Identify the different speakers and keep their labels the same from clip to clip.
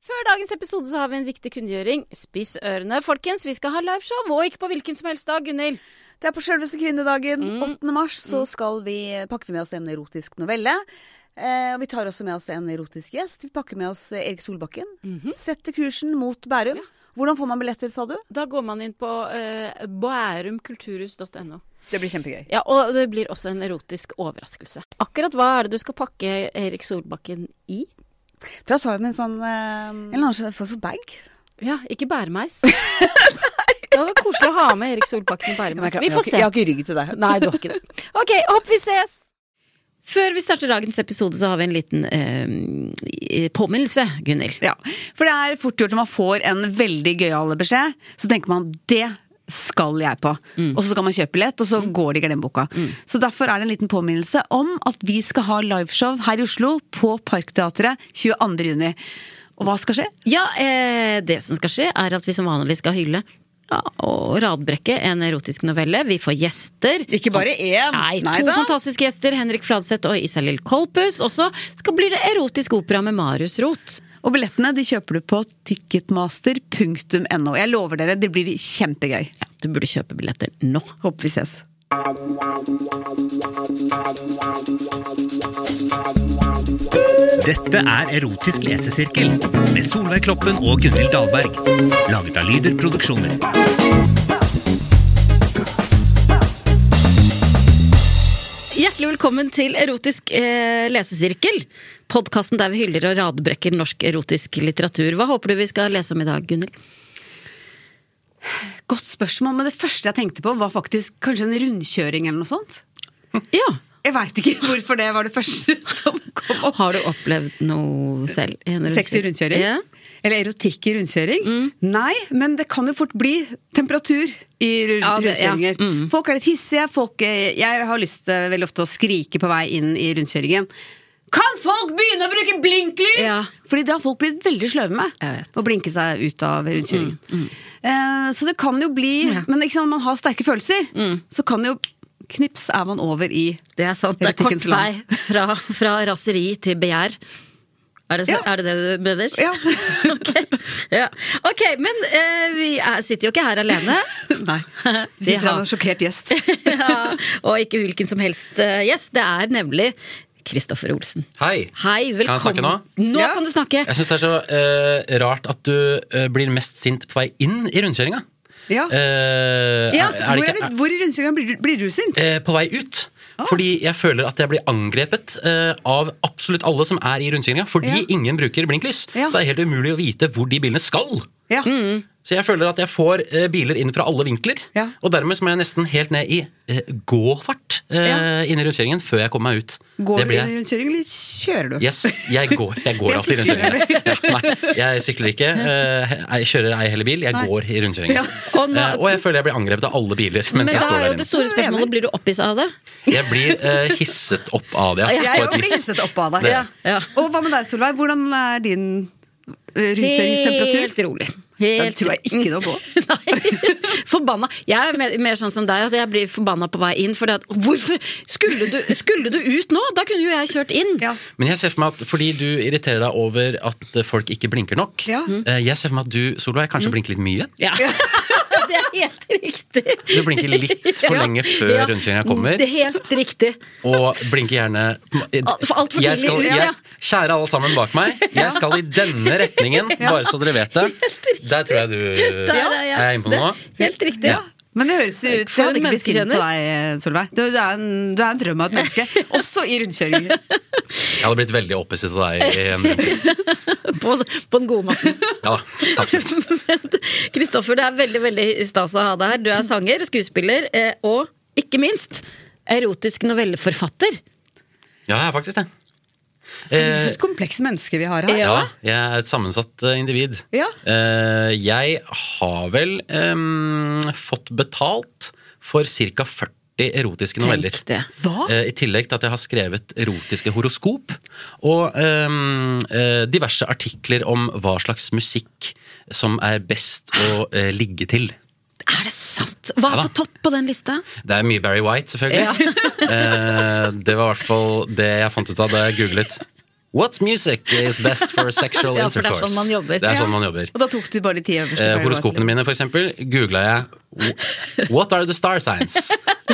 Speaker 1: Før dagens episode så har vi en viktig kunngjøring. Spiss ørene, folkens. Vi skal ha liveshow, og ikke på hvilken som helst dag, Gunhild.
Speaker 2: Det er på selveste kvinnedagen.
Speaker 1: Mm.
Speaker 2: 8. mars så skal vi, eh, pakker vi med oss en erotisk novelle. Eh, og vi tar også med oss en erotisk gjest. Vi pakker med oss eh, Erik Solbakken. Setter kursen mot Bærum. Hvordan får man billetter, sa du?
Speaker 1: Da går man inn på eh, bærumkulturhus.no.
Speaker 2: Det blir kjempegøy.
Speaker 1: Ja, og det blir også en erotisk overraskelse. Akkurat hva er det du skal pakke Erik Solbakken i?
Speaker 2: Da tar vi med en sånn eh, En eller annen form for bag.
Speaker 1: Ja, ikke bæremeis. det var koselig å ha med Erik Solbakken i bæremeis. Vi får se.
Speaker 2: Jeg har ikke rygg til deg.
Speaker 1: Nei, du har ikke det. Ok, opp vi ses! Før vi starter dagens episode, så har vi en liten eh, påminnelse, Gunhild.
Speaker 2: Ja, For det er fort gjort når man får en veldig gøyal beskjed, så tenker man det skal jeg på. Og så skal man kjøpe billett, og så går det i glemmeboka. Så derfor er det en liten påminnelse om at vi skal ha liveshow her i Oslo på Parkteatret 22. juni. Og hva skal skje?
Speaker 1: Ja, eh, det som skal skje, er at vi som vanlig skal hylle ja, og radbrekke en erotisk novelle. Vi får gjester.
Speaker 2: Ikke bare én.
Speaker 1: Nei,
Speaker 2: Nei
Speaker 1: to
Speaker 2: da.
Speaker 1: fantastiske gjester. Henrik Fladseth og Isalill Kolpus. Og så skal- blir det erotisk opera med Marius Roth.
Speaker 2: Og billettene de kjøper du på ticketmaster.no. Jeg lover dere, det blir kjempegøy.
Speaker 1: Ja, du burde kjøpe billetter nå.
Speaker 2: Håper vi ses.
Speaker 3: Dette er Erotisk lesesirkel med Solveig Kloppen og Gunhild Dahlberg. Laget av Lyder Produksjoner.
Speaker 1: Hjertelig velkommen til Erotisk eh, lesesirkel. Podkasten der vi hyller og radbrekker norsk erotisk litteratur. Hva håper du vi skal lese om i dag, Gunhild?
Speaker 2: Godt spørsmål, men det første jeg tenkte på, var faktisk kanskje en rundkjøring eller noe sånt.
Speaker 1: Ja.
Speaker 2: Jeg veit ikke hvorfor det var det første som kom opp.
Speaker 1: Har du opplevd noe selv? i en
Speaker 2: Sex i rundkjøring?
Speaker 1: Ja. Mm.
Speaker 2: Eller erotikk i rundkjøring? Nei, men det kan jo fort bli temperatur i ru-
Speaker 1: Ja, det- ja.
Speaker 2: rundkjøringer.
Speaker 1: Mm.
Speaker 2: Folk er litt hissige. Folk, eh, jeg har lyst til veldig ofte å skrike på vei inn i rundkjøringen. Kan folk begynne å bruke blinklys?!
Speaker 1: Ja.
Speaker 2: Fordi det har folk blitt veldig sløve med.
Speaker 1: Jeg vet. Mm,
Speaker 2: Å blinke seg ut av rundkjøringen. Eh, så det kan jo bli
Speaker 1: Ja. Mm.
Speaker 2: Men ikke sant, man har sterke følelser. Så kan jo Knips er man over i
Speaker 1: Det er sant. Det er kort
Speaker 2: Erotikkens land.
Speaker 1: vei fra, fra raseri til begjær. Er det, så,
Speaker 2: Ja.
Speaker 1: er det det du mener?
Speaker 2: Ja.
Speaker 1: ok, ja. Ok, men eh, vi er, sitter jo ikke her alene.
Speaker 2: Nei.
Speaker 1: Vi
Speaker 2: Sitter
Speaker 1: har-
Speaker 2: han og sjokkert gjest.
Speaker 1: ja, og ikke hvilken som helst eh, gjest. Det er nemlig Kristoffer Olsen.
Speaker 4: Hei.
Speaker 1: Hei, velkommen.
Speaker 4: Kan jeg snakke nå?
Speaker 1: Nå
Speaker 2: Ja.
Speaker 1: kan du snakke.
Speaker 4: Jeg syns det er så eh, rart at du eh, blir mest sint på vei inn i rundkjøringa.
Speaker 2: Ja.
Speaker 4: Eh,
Speaker 2: Ja,
Speaker 4: er- er det
Speaker 2: hvor,
Speaker 4: ikke-
Speaker 2: er du, hvor i rundkjøringen blir, du- blir du sint?
Speaker 4: eh, på vei ut. Fordi jeg føler at jeg blir angrepet eh, av absolutt alle som er i rundkjøringa. Fordi
Speaker 2: Ja.
Speaker 4: ingen bruker blinklys.
Speaker 2: Ja.
Speaker 4: Så det er helt umulig å vite hvor de bilene skal.
Speaker 2: Ja.
Speaker 4: Så jeg føler at jeg får eh, biler inn fra alle vinkler.
Speaker 2: Ja.
Speaker 4: Og dermed så må jeg nesten helt ned i eh, gåfart eh,
Speaker 2: Ja.
Speaker 4: inn i rundkjøringen før jeg kommer meg ut.
Speaker 2: Går
Speaker 4: det
Speaker 2: du i
Speaker 4: blir jeg
Speaker 2: rundkjøring, eller kjører du?
Speaker 4: Yes, jeg går, jeg går
Speaker 2: Jeg
Speaker 4: alltid i
Speaker 2: sykler.
Speaker 4: rundkjøringer. Ja, nei, jeg sykler ikke, eh, jeg kjører ei heller bil, jeg
Speaker 2: Nei.
Speaker 4: går i rundkjøringer.
Speaker 2: Ja.
Speaker 1: Og nå-
Speaker 4: Eh, og jeg føler jeg blir angrepet av alle biler mens
Speaker 1: Men
Speaker 4: jeg
Speaker 1: da
Speaker 4: står
Speaker 1: er jo
Speaker 4: der
Speaker 1: det
Speaker 4: inne.
Speaker 1: store
Speaker 2: Jeg er enig.
Speaker 1: spørsmålet blir du oppgitt av det.
Speaker 4: Jeg blir eh, hisset opp av det, ja,
Speaker 2: Jeg
Speaker 4: på et
Speaker 2: blir
Speaker 4: vis.
Speaker 2: hisset opp av deg.
Speaker 4: Det- Ja.
Speaker 1: Ja.
Speaker 2: Og hva med deg, Solveig? Hvordan er din eh, rundkjøringstemperatur?
Speaker 1: Helt rolig. Helt
Speaker 2: Den tror jeg ikke noe på.
Speaker 1: Nei. Forbanna. Jeg er mer, mer sånn som deg, at jeg blir forbanna på vei inn. For det at, hvorfor skulle du, skulle du ut nå? Da kunne jo jeg kjørt inn.
Speaker 2: Ja.
Speaker 4: Men jeg ser for meg at, fordi du irriterer deg over at folk ikke blinker nok
Speaker 2: Ja.
Speaker 4: eh, Jeg ser for meg at du, Solveig, kanskje blinker litt mye.
Speaker 1: Ja. det er helt riktig.
Speaker 4: Du blinker litt for
Speaker 1: Ja.
Speaker 4: lenge før
Speaker 1: Ja.
Speaker 4: rundkjøringa kommer.
Speaker 1: Det er helt riktig.
Speaker 4: Og blinker gjerne
Speaker 1: Alt- Ah, for alt for
Speaker 4: Jeg skal-
Speaker 1: tidlig ut, ja.
Speaker 4: jeg- Kjære alle sammen bak meg, jeg skal i denne retningen, bare så dere vet det. Der tror jeg du
Speaker 1: Der
Speaker 4: er
Speaker 1: er jeg.
Speaker 4: jeg inne på
Speaker 1: Det-
Speaker 4: noe.
Speaker 1: Helt riktig.
Speaker 4: Ja.
Speaker 2: Men det høres jo ut
Speaker 1: For
Speaker 2: Jeg
Speaker 1: en
Speaker 2: hadde ikke blitt sint på
Speaker 1: menneskekjenner.
Speaker 2: deg, eh, Solveig. Du, du, er en, du er en drøm av et menneske. Også i rundkjøringer.
Speaker 4: Jeg hadde blitt veldig opphisset av deg. i en rundkjøring.
Speaker 1: På, på den gode måten.
Speaker 4: Ja, da, absolutt.
Speaker 1: Men Kristoffer, det er veldig veldig stas å ha deg her. Du er sanger, skuespiller eh, og ikke minst erotisk novelleforfatter.
Speaker 4: ja, jeg er faktisk det.
Speaker 2: For
Speaker 4: Eh,
Speaker 2: et komplekst menneske vi har her.
Speaker 4: ja, jeg er et sammensatt eh, individ.
Speaker 2: Ja.
Speaker 4: Eh, jeg har vel em, fått betalt for ca. 40 erotiske noveller.
Speaker 1: Tenk det.
Speaker 2: Hva?
Speaker 4: Eh, I tillegg til at jeg har skrevet erotiske horoskop og ehm, eh, diverse artikler om hva slags musikk som er best å eh, ligge til.
Speaker 1: Er det sant? Hva er
Speaker 4: Ja da.
Speaker 1: på topp på den lista?
Speaker 4: Det er mye Barry White, selvfølgelig. eh, det var i hvert fall det jeg fant ut av da jeg googlet What music is best for sexual
Speaker 1: Ja, for det er
Speaker 4: intercourse?
Speaker 1: sånn man jobber.
Speaker 4: Det er sånn
Speaker 2: Ja.
Speaker 4: man jobber.
Speaker 2: Og da tok du bare de ti øverste.
Speaker 4: Eh,
Speaker 2: fra
Speaker 4: horoskopene mine, for eksempel, googla jeg What are the star signs?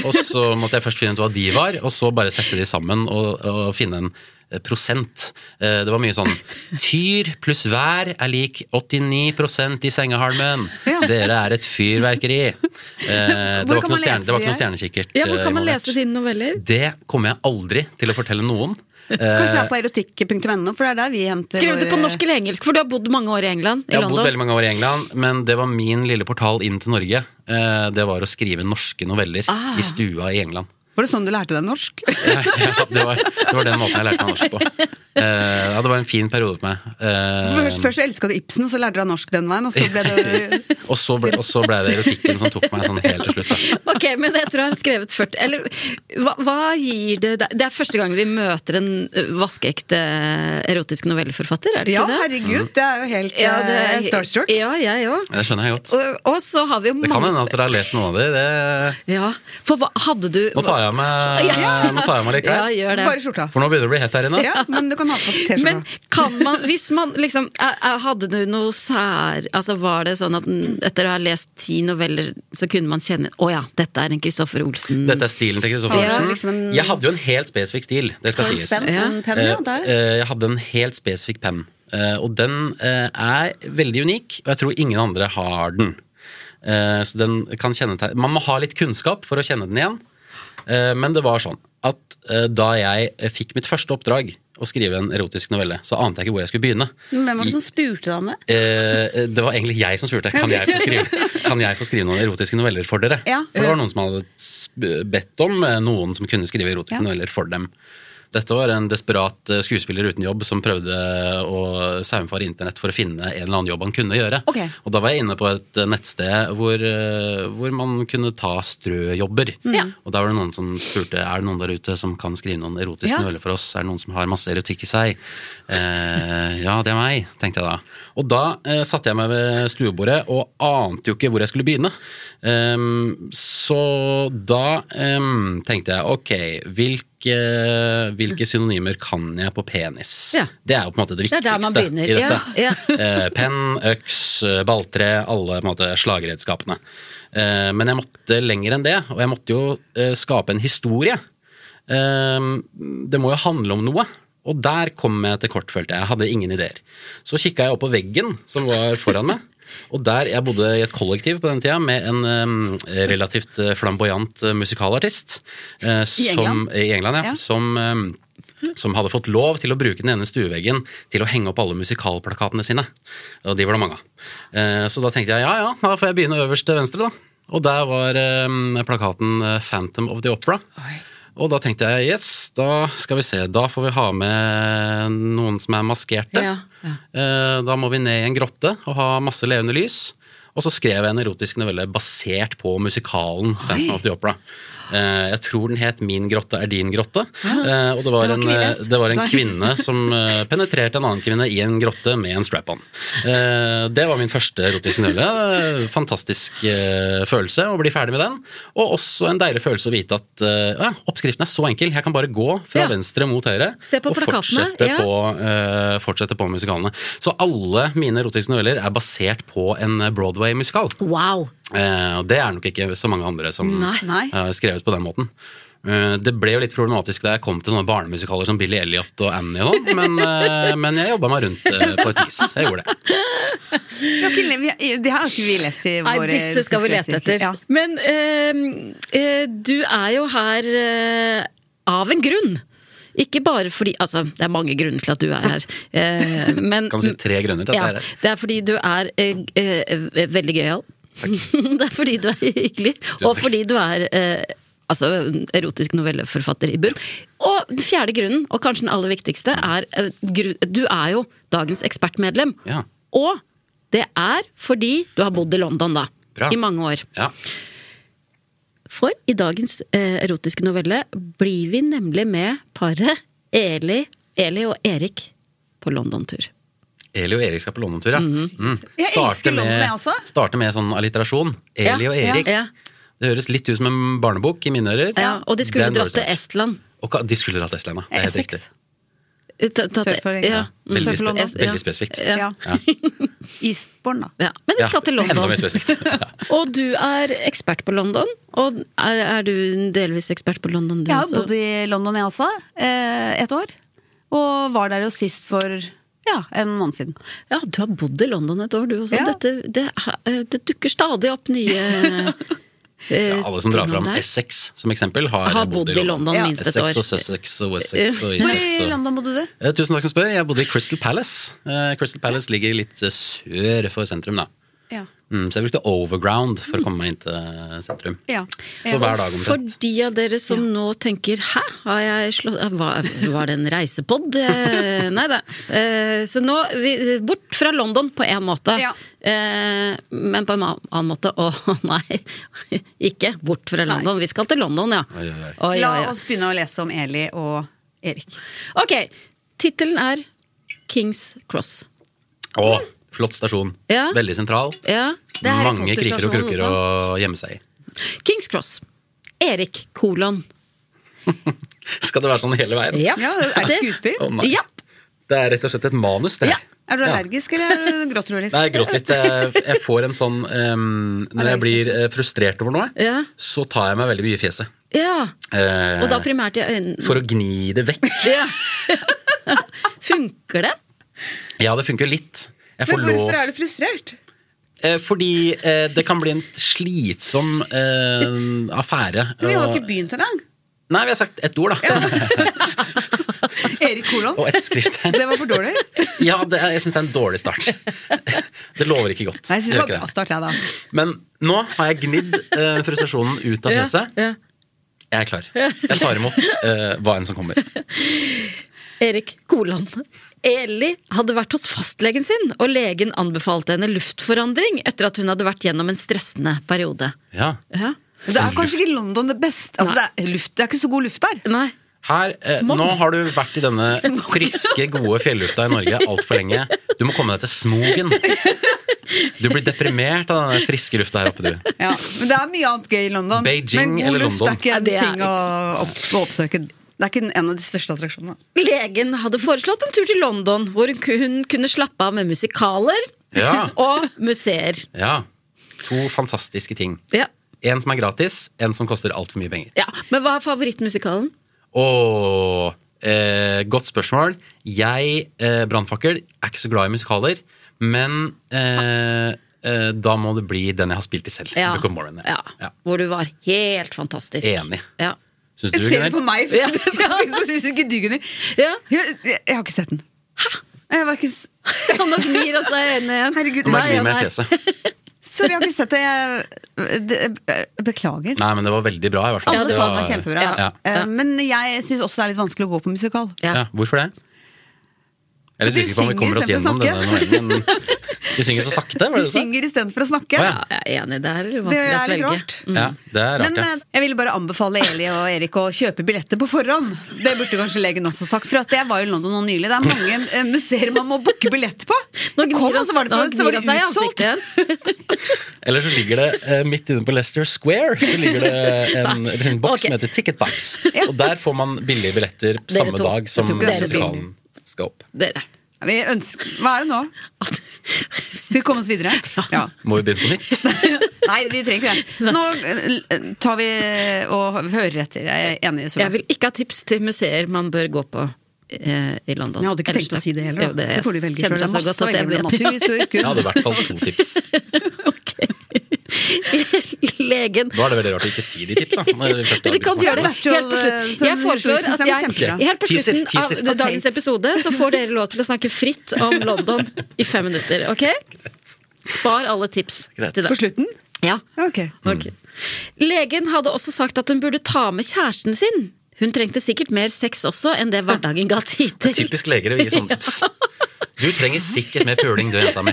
Speaker 4: Og så måtte jeg først finne ut hva de var, og så bare sette de sammen og, og finne en eh, prosent. Eh, Det var mye sånn Tyr pluss vær er lik 89 i sengehalmen.
Speaker 2: Ja.
Speaker 4: Dere er et fyrverkeri. Eh, Det
Speaker 2: Hvor kan
Speaker 4: var
Speaker 2: man
Speaker 4: ikke noe, stjerne,
Speaker 2: lese
Speaker 4: det var ikke noe
Speaker 2: de her?
Speaker 4: stjernekikkert.
Speaker 1: Ja, Hvor
Speaker 4: eh,
Speaker 1: kan man
Speaker 4: involvert.
Speaker 1: lese dine noveller?
Speaker 4: Det kommer jeg aldri til å fortelle noen.
Speaker 2: Kanskje det
Speaker 4: Eh,
Speaker 2: er på erotikk.no, for det eh, er der vi henter
Speaker 1: Skrev du
Speaker 2: våre-
Speaker 1: på norsk eller engelsk? For du har bodd mange år i England. I
Speaker 4: Jeg har bodd
Speaker 1: London.
Speaker 4: veldig mange år i England, men det var min lille portal inn til Norge. Eh, Det var å skrive norske noveller
Speaker 1: Ah.
Speaker 4: i stua i England.
Speaker 2: Var det sånn du lærte deg norsk?
Speaker 4: Ja, det, var, det var den måten jeg lærte meg norsk på. Eh, Ja, det var en fin periode for meg. Eh,
Speaker 2: Først, først så elska du Ibsen, og så lærte du deg norsk den veien, og så ble det
Speaker 4: Og så ble, og så ble det erotikken som tok meg sånn helt til slutt. Da.
Speaker 1: Ok, men jeg tror jeg har skrevet 40 Eller hva, hva gir det deg? Det er første gang vi møter en ø, vaskeekte eh, erotisk novelleforfatter, er det
Speaker 2: Ja,
Speaker 1: ikke det?
Speaker 2: herregud, det er jo helt
Speaker 1: Ja, det
Speaker 2: eh, starstruck.
Speaker 1: Ja, jeg òg.
Speaker 4: Det skjønner jeg godt.
Speaker 1: Og, og så har vi jo
Speaker 4: Det kan
Speaker 1: mange
Speaker 4: hende at dere har lest noen av dem. Det...
Speaker 1: Ja, for hva hadde du
Speaker 4: Nå tar jeg av meg Nå tar jeg av meg litt
Speaker 1: Ja,
Speaker 4: klær.
Speaker 1: gjør det.
Speaker 2: Bare skjorta.
Speaker 4: For nå begynner det å bli hett her inne.
Speaker 2: Ja, men du kan ha på
Speaker 1: Men
Speaker 2: T-skjorta.
Speaker 1: kan man, hvis man liksom er- er- Hadde du noe sær Altså var det sånn at den- etter å ha lest ti noveller, så kunne man kjenne Å ja, dette er en Kristoffer Olsen
Speaker 4: Dette er stilen til Kristoffer
Speaker 1: Ja,
Speaker 4: Olsen.
Speaker 2: liksom en-
Speaker 4: Jeg hadde jo en helt spesifikk stil. Det skal sies.
Speaker 2: Spenn,
Speaker 1: Ja.
Speaker 2: en penn, ja,
Speaker 4: Eh,
Speaker 2: der.
Speaker 4: eh, Jeg hadde en helt spesifikk penn, eh, og den eh, er veldig unik, og jeg tror ingen andre har den. Eh, Så den kan kjennetegne Man må ha litt kunnskap for å kjenne den igjen. Eh, Men det var sånn at eh, da jeg eh, fikk mitt første oppdrag, å skrive en erotisk novelle, så ante jeg ikke hvor jeg skulle begynne.
Speaker 2: Men Hvem var det som spurte deg om det?
Speaker 4: Eh, det var egentlig jeg som spurte Kan jeg få skrive, kan jeg få skrive noen erotiske noveller for dere.
Speaker 2: Ja.
Speaker 4: For det var noen som hadde sp- bedt om eh, noen som kunne skrive erotiske
Speaker 2: Ja.
Speaker 4: noveller for dem. Dette var en desperat eh, skuespiller uten jobb som prøvde å saumfare internett for å finne en eller annen jobb han kunne gjøre.
Speaker 2: Ok.
Speaker 4: Og da var jeg inne på et eh, nettsted hvor, eh, hvor man kunne ta strøjobber.
Speaker 1: Ja.
Speaker 4: Og da var det noen som spurte er det noen der ute som kan skrive noen erotiske
Speaker 2: Ja.
Speaker 4: noveller for oss. Er det noen som har masse erotikk i seg? Eh, ja, det er meg, tenkte jeg da. Og da eh, satte jeg meg ved stuebordet og ante jo ikke hvor jeg skulle begynne. Ehm, så da ehm, tenkte jeg ok, hvilke, hvilke synonymer kan jeg på penis?
Speaker 1: Ja.
Speaker 4: Det er jo på en måte det
Speaker 1: Det er der man
Speaker 4: viktigste
Speaker 1: begynner,
Speaker 4: i dette.
Speaker 1: ja,
Speaker 4: Eh, Penn, øks, eh, balltre, alle på en måte, slagredskapene. Eh, Men jeg måtte lenger enn det, og jeg måtte jo eh, skape en historie. Eh, Det må jo handle om noe. Og der kom jeg til kort, følte jeg. Jeg hadde ingen ideer. Så kikka jeg opp på veggen som var foran meg. Og der, Jeg bodde i et kollektiv på den tida med en eh, relativt eh, flamboyant eh, musikalartist. eh, som,
Speaker 2: England?
Speaker 4: I England, ja.
Speaker 2: Ja.
Speaker 4: Som, eh, som hadde fått lov til å bruke den ene stueveggen til å henge opp alle musikalplakatene sine. Og de var det mange av. Eh, Så da tenkte jeg ja, ja, da får jeg begynne øverst til venstre, da. Og der var eh, plakaten eh, 'Phantom of the Opera'. Og da tenkte jeg yes, da skal vi se. Da får vi ha med noen som er maskerte.
Speaker 1: Ja, ja.
Speaker 4: Eh, Da må vi ned i en grotte og ha masse levende lys. Og så skrev jeg en erotisk novelle basert på musikalen Phantom of the Opera. Eh, Jeg tror den het Min grotte er din grotte. Eh, Og det var,
Speaker 2: Det var
Speaker 4: en,
Speaker 2: ikke vi
Speaker 4: eh,
Speaker 2: lest.
Speaker 4: det var en
Speaker 2: Nei.
Speaker 4: kvinne som eh, penetrerte en annen kvinne i en grotte med en strap-on. Eh, Det var min første erotiske novelle. Eh, Fantastisk eh, følelse å bli ferdig med den. Og også en deilig følelse å vite at eh, ja, oppskriften er så enkel. Jeg kan bare gå fra
Speaker 1: Ja.
Speaker 4: venstre mot høyre
Speaker 1: Se på
Speaker 4: og
Speaker 1: plakatene,
Speaker 4: fortsette
Speaker 1: ja.
Speaker 4: på og eh, fortsette på musikalene. Så alle mine erotiske noveller er basert på en Broadway-musikal.
Speaker 1: Wow!
Speaker 4: Eh, og det er nok ikke så mange andre som
Speaker 1: Nei.
Speaker 2: Nei.
Speaker 4: har skrevet på den måten. Eh, det ble jo litt problematisk da jeg kom til sånne barnemusikaler som Billy Elliot og Annie, og sånn, men, eh, men jeg jobba meg rundt eh, på et vis. Jeg gjorde det.
Speaker 2: Vi har ikke- vi- Det har jo ikke vi lest i
Speaker 1: Nei,
Speaker 2: våre
Speaker 1: disse skal vi lete
Speaker 2: russiske
Speaker 1: etter.
Speaker 2: Ja.
Speaker 1: Men eh, eh, du er jo her eh, av en grunn. Ikke bare fordi Altså, det er mange grunner til at du er her, eh, men
Speaker 4: Kan du si tre grunner til at
Speaker 1: ja,
Speaker 4: det er
Speaker 1: det er fordi du er eh, eh, veldig gøyal. det er fordi du er hyggelig, og
Speaker 4: takk.
Speaker 1: fordi du er eh, altså, erotisk novelleforfatter i bunn. Og den fjerde grunnen, og kanskje den aller viktigste, er eh, gru- du er jo dagens ekspertmedlem.
Speaker 4: Ja.
Speaker 1: Og det er fordi du har bodd i London, da.
Speaker 4: Bra.
Speaker 1: I mange år.
Speaker 4: Ja.
Speaker 1: For i dagens eh, erotiske novelle blir vi nemlig med paret Eli, Eli og Erik på London-tur.
Speaker 4: Eli og Erik skal på London-tur, ja.
Speaker 1: Mhm.
Speaker 4: Mm.
Speaker 2: Jeg
Speaker 4: Starte
Speaker 2: elsker London,
Speaker 4: med-
Speaker 2: jeg også.
Speaker 4: Starte med sånn alliterasjon. Eli
Speaker 2: Ja,
Speaker 4: og
Speaker 2: ja,
Speaker 4: Erik.
Speaker 1: ja.
Speaker 4: Det høres litt ut som en barnebok i mine ører.
Speaker 1: Ja, og de skulle
Speaker 4: Den var
Speaker 1: dratt til
Speaker 4: start.
Speaker 1: Estland.
Speaker 4: Og ka- de skulle dratt til Estland, ja. Det er helt
Speaker 2: Essex.
Speaker 4: riktig.
Speaker 1: Tatt- tatt-
Speaker 2: Sør for England.
Speaker 1: ja. Mm.
Speaker 4: Veldig,
Speaker 2: Sør for
Speaker 4: spe
Speaker 2: London.
Speaker 4: veldig spesifikt.
Speaker 1: Ja.
Speaker 2: Ja. Eastbourne, da.
Speaker 1: Ja. Men det skal til
Speaker 4: Enda
Speaker 1: London.
Speaker 4: mer spesifikt. Ja.
Speaker 1: Og du er ekspert på London. Og er, er du delvis ekspert på London, du
Speaker 2: Jeg har
Speaker 1: også?
Speaker 2: bodd i London, jeg også. eh, Et år. Og var der jo sist for ja, en måned siden.
Speaker 1: Ja, du har bodd i London et år, du også.
Speaker 2: Ja.
Speaker 1: Dette, det, eh, det dukker stadig opp nye eh,
Speaker 4: Ja, alle som drar fram
Speaker 1: S
Speaker 4: Essex som eksempel, har,
Speaker 1: Har bodd i London
Speaker 2: Ja.
Speaker 1: minst et
Speaker 4: Essex og
Speaker 1: år.
Speaker 4: Sussex og Wessex og
Speaker 2: Hvor
Speaker 4: Essex
Speaker 2: i
Speaker 4: og
Speaker 2: London bodde du?
Speaker 4: Eh, Tusen takk som spør. Jeg bodde i Crystal Palace. Eh, Crystal Palace ligger litt eh, sør for sentrum, da.
Speaker 2: Ja.
Speaker 4: Mm, så jeg brukte overground for å komme meg inn til eh, sentrum.
Speaker 2: ja.
Speaker 4: Så hver dag
Speaker 1: For
Speaker 4: omtrent.
Speaker 1: de av dere som nå tenker 'hæ, har jeg slått Var, var det en reisepod? Eh, Nei da. Eh, Så nå vi, bort fra London på én måte,
Speaker 2: Ja.
Speaker 1: Eh, men på en annen måte å nei, ikke bort fra London. Vi skal til London, ja.
Speaker 4: Oi, oi, oi.
Speaker 1: Oi,
Speaker 2: La
Speaker 1: oi, oi.
Speaker 2: oss begynne å lese om Eli og Erik.
Speaker 1: Ok, tittelen er Kings Cross.
Speaker 4: Å, flott stasjon.
Speaker 1: Ja.
Speaker 4: Veldig sentral.
Speaker 1: Ja.
Speaker 2: er Harry
Speaker 4: Mange kriker og
Speaker 2: Potter-stasjonen
Speaker 4: krukker å gjemme seg i.
Speaker 1: Kings Cross. Erik kolon.
Speaker 4: Skal det være sånn hele veien?
Speaker 2: Ja, er det skuespill?
Speaker 4: Å, nei.
Speaker 1: Ja.
Speaker 4: Det er rett og slett et manus, det.
Speaker 1: Ja.
Speaker 2: Er du
Speaker 4: Ja.
Speaker 2: allergisk, eller er du- gråter du litt?
Speaker 4: Nei, jeg gråt litt. Jeg, jeg får en sånn ehm, Når jeg blir eh, frustrert over noe,
Speaker 1: Ja.
Speaker 4: så tar jeg meg veldig mye i fjeset.
Speaker 1: ja.
Speaker 4: Eh,
Speaker 1: Og da primært i øynene.
Speaker 4: for å gni det vekk.
Speaker 1: Ja. Funker det?
Speaker 4: Ja, det funker litt. Jeg får
Speaker 2: Men hvorfor
Speaker 4: låst
Speaker 2: er du frustrert?
Speaker 4: Eh, Fordi eh, det kan bli en slitsom eh, affære.
Speaker 2: Men Vi har
Speaker 4: Og-
Speaker 2: ikke begynt engang.
Speaker 4: Nei, vi har sagt ett ord, da.
Speaker 2: Erik Kolon.
Speaker 4: Og ett skrifttegn.
Speaker 2: Det var for dårlig.
Speaker 4: Ja, det er, jeg syns det er en dårlig start. Det lover ikke godt.
Speaker 2: Nei, jeg syns det
Speaker 4: Gjør
Speaker 2: var
Speaker 4: ikke
Speaker 2: bra start, jeg, da.
Speaker 4: Men nå har jeg gnidd eh, frustrasjonen ut av fjeset.
Speaker 1: Ja.
Speaker 4: Jeg er klar. Jeg tar imot eh, hva enn som kommer.
Speaker 1: Erik kolon. Eli hadde vært hos fastlegen sin, og legen anbefalte henne luftforandring etter at hun hadde vært gjennom en stressende periode.
Speaker 4: Ja.
Speaker 1: Ja.
Speaker 2: Det er kanskje ikke London det beste. Altså, det, er luft, det er ikke så god luft der.
Speaker 1: Nei.
Speaker 4: Her, eh,
Speaker 1: Smog.
Speaker 4: nå har du vært i denne
Speaker 1: Smog.
Speaker 4: friske, gode fjellufta i Norge altfor lenge. Du må komme deg til smogen. Du blir deprimert av denne friske lufta her oppe, du.
Speaker 2: Ja, men det er mye annet gøy i London.
Speaker 4: Beijing
Speaker 2: men god
Speaker 4: eller
Speaker 2: luft
Speaker 4: London?
Speaker 2: er ikke
Speaker 1: Ja,
Speaker 2: en
Speaker 1: det er
Speaker 2: ting å, opp, å oppsøke. Det er ikke en av de største attraksjonene.
Speaker 1: Legen hadde foreslått en tur til London, hvor hun kun- hun kunne slappe av med musikaler
Speaker 4: Ja.
Speaker 1: og museer.
Speaker 4: Ja. To fantastiske ting.
Speaker 1: Ja.
Speaker 4: En som er gratis, en som koster altfor mye penger.
Speaker 1: ja. Men hva er favorittmusikalen?
Speaker 4: Åh, eh, godt spørsmål. Jeg, eh, brannfakkel, er ikke så glad i musikaler. Men eh, eh, da må det bli den jeg har spilt i selv.
Speaker 1: Ja.
Speaker 4: Book of Mormon.
Speaker 1: Ja.
Speaker 4: Ja.
Speaker 1: Hvor du var helt fantastisk.
Speaker 4: Enig.
Speaker 1: Ja.
Speaker 4: Syns du,
Speaker 2: Jeg ser det på
Speaker 4: Gunnar?
Speaker 2: meg, for
Speaker 1: Ja.
Speaker 2: det skal jeg si, så syns ikke du, Gunnhild.
Speaker 1: Ja.
Speaker 2: Jeg, jeg, jeg har ikke sett den. Jeg var ikke, s-
Speaker 1: Og nå gnir han seg i øynene igjen.
Speaker 2: herregud,
Speaker 4: Nå må
Speaker 1: Nei, ja,
Speaker 4: jeg gni meg
Speaker 1: nei.
Speaker 4: i fjeset.
Speaker 2: sorry, jeg har ikke sett det. Jeg, det beklager.
Speaker 4: Nei, men det var veldig bra, i hvert fall.
Speaker 2: Alle
Speaker 4: Det
Speaker 2: sa den var kjempebra.
Speaker 1: Ja.
Speaker 4: Ja.
Speaker 2: Eh, Men jeg syns også det er litt vanskelig å gå på musikal.
Speaker 1: Ja.
Speaker 4: Ja, hvorfor det? Jeg er litt
Speaker 2: Vi
Speaker 4: usikker på om vi
Speaker 2: synger
Speaker 4: kommer oss
Speaker 2: istedenfor å
Speaker 4: gjennom denne novellen. men Vi synger så sakte,
Speaker 2: Vi
Speaker 4: var det det du sa?
Speaker 2: synger istedenfor å snakke.
Speaker 4: Å, ja.
Speaker 1: Jeg er enig, det er
Speaker 2: Det
Speaker 1: vanskelig å
Speaker 2: er litt
Speaker 1: svelge.
Speaker 2: rart.
Speaker 4: Ja, det er rart,
Speaker 2: Men
Speaker 4: ja.
Speaker 2: eh, jeg ville bare anbefale Eli og Erik å kjøpe billetter på forhånd. Det burde kanskje legen også sagt, for at jeg var jo i London nå nylig. Det er mange eh, museer man må booke billett på.
Speaker 1: Nå
Speaker 2: Det kom,
Speaker 1: gnir
Speaker 2: og
Speaker 1: han,
Speaker 2: så var
Speaker 1: nå
Speaker 2: det, for, så
Speaker 1: gnir
Speaker 2: var
Speaker 1: han
Speaker 2: det
Speaker 1: seg i
Speaker 2: utsolgt.
Speaker 1: ansiktet igjen.
Speaker 4: Eller så ligger det eh, midt inne på Leicester Square Så ligger det en, en boks
Speaker 1: Ok.
Speaker 4: som heter Ticketbox. Og der får man billige billetter samme
Speaker 1: to.
Speaker 4: dag som
Speaker 1: Jeg tror ikke dere to.
Speaker 4: musikalen skal opp.
Speaker 1: Dere.
Speaker 2: Vi ønsker, hva er det nå? Skal vi komme oss videre? Ja.
Speaker 4: Må vi begynne på nytt?
Speaker 2: Nei, vi trenger ikke det. Nå eh, tar vi og hører etter. Jeg er enig i
Speaker 1: Jeg
Speaker 2: Solveig.
Speaker 1: vil ikke ha tips til museer man bør gå på. eh, I London.
Speaker 2: Jeg hadde ikke tenkt å si det heller.
Speaker 1: Jo,
Speaker 2: da. Det får du velge
Speaker 1: jeg kjenner
Speaker 2: selv. Det er
Speaker 1: så godt
Speaker 2: masse å
Speaker 1: at jeg
Speaker 2: velge mellom.
Speaker 1: vet-
Speaker 2: Naturhistorisk
Speaker 4: Jeg hadde i
Speaker 2: kunst.
Speaker 4: hvert fall to tips.
Speaker 1: Legen
Speaker 4: Da er det veldig rart å ikke si de tipsa. når vi først har
Speaker 1: Dere kan
Speaker 4: begynt å
Speaker 1: gjøre det
Speaker 4: snakke om
Speaker 2: virtual,
Speaker 1: helt på slutt.
Speaker 2: eh, sånn
Speaker 1: Jeg foreslår
Speaker 2: historisk
Speaker 1: at
Speaker 2: museum,
Speaker 1: jeg,
Speaker 2: kjempebra.
Speaker 1: helt på
Speaker 4: Teaser,
Speaker 1: slutten
Speaker 4: teaser.
Speaker 1: av dagens
Speaker 2: Patent.
Speaker 1: episode så får dere lov til å snakke fritt om London i fem minutter. Ok? Spar alle tips
Speaker 4: Greit.
Speaker 1: til
Speaker 2: På
Speaker 1: deg.
Speaker 2: slutten?
Speaker 1: Ja.
Speaker 2: Ok.
Speaker 1: Ok. Legen hadde også sagt at hun burde ta med kjæresten sin. Hun trengte sikkert mer sex også enn det hverdagen ga tid til.
Speaker 4: Typisk leger å gi sånne tips. Du trenger sikkert mer puling, du jenta mi.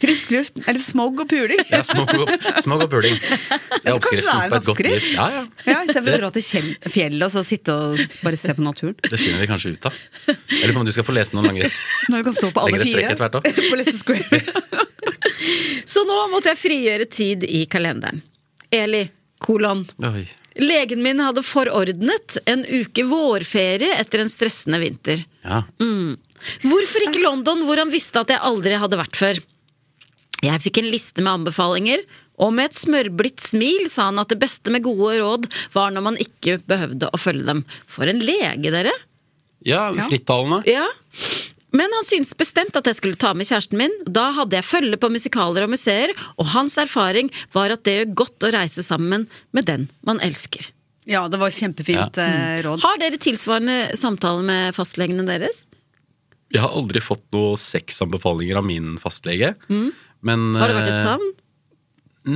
Speaker 2: Frisk luft. Eller smog og puling.
Speaker 4: Ja, smog, og- smog og puling. Det er
Speaker 2: Kanskje det er
Speaker 4: oppskriften
Speaker 2: en
Speaker 4: på et godt
Speaker 2: oppskrift?
Speaker 4: liv. Ja, ja.
Speaker 2: Ja, Istedenfor å dra til kjell- fjellet og så sitte og bare se på naturen.
Speaker 4: Det finner vi kanskje ut av. Jeg lurer på om du skal få lese noen lange
Speaker 2: Når du kan stå på alle
Speaker 4: Legger det
Speaker 2: fire.
Speaker 4: strek etter hvert
Speaker 2: på Leicester Square.
Speaker 1: Så nå måtte jeg frigjøre tid i kalenderen. Eli, kolon,
Speaker 4: Oi.
Speaker 1: Legen min hadde forordnet en uke vårferie etter en stressende vinter.
Speaker 4: Ja.
Speaker 1: Hvorfor ikke London, hvor han visste at jeg aldri hadde vært før? Jeg fikk en liste med anbefalinger, og med et smørblidt smil sa han at det beste med gode råd var når man ikke behøvde å følge dem. For en lege, dere!
Speaker 4: ja frittalende.
Speaker 1: Ja. Men han syntes bestemt at jeg skulle ta med kjæresten min. Da hadde jeg følge på musikaler og museer, og hans erfaring var at det gjør godt å reise sammen med den man elsker.
Speaker 2: Ja, det var kjempefint
Speaker 4: Ja.
Speaker 2: eh, råd.
Speaker 1: Har dere tilsvarende samtaler med fastlegene deres?
Speaker 4: Jeg har aldri fått noen sexanbefalinger av min fastlege. Men,
Speaker 1: Har det vært et
Speaker 4: eh,
Speaker 1: savn?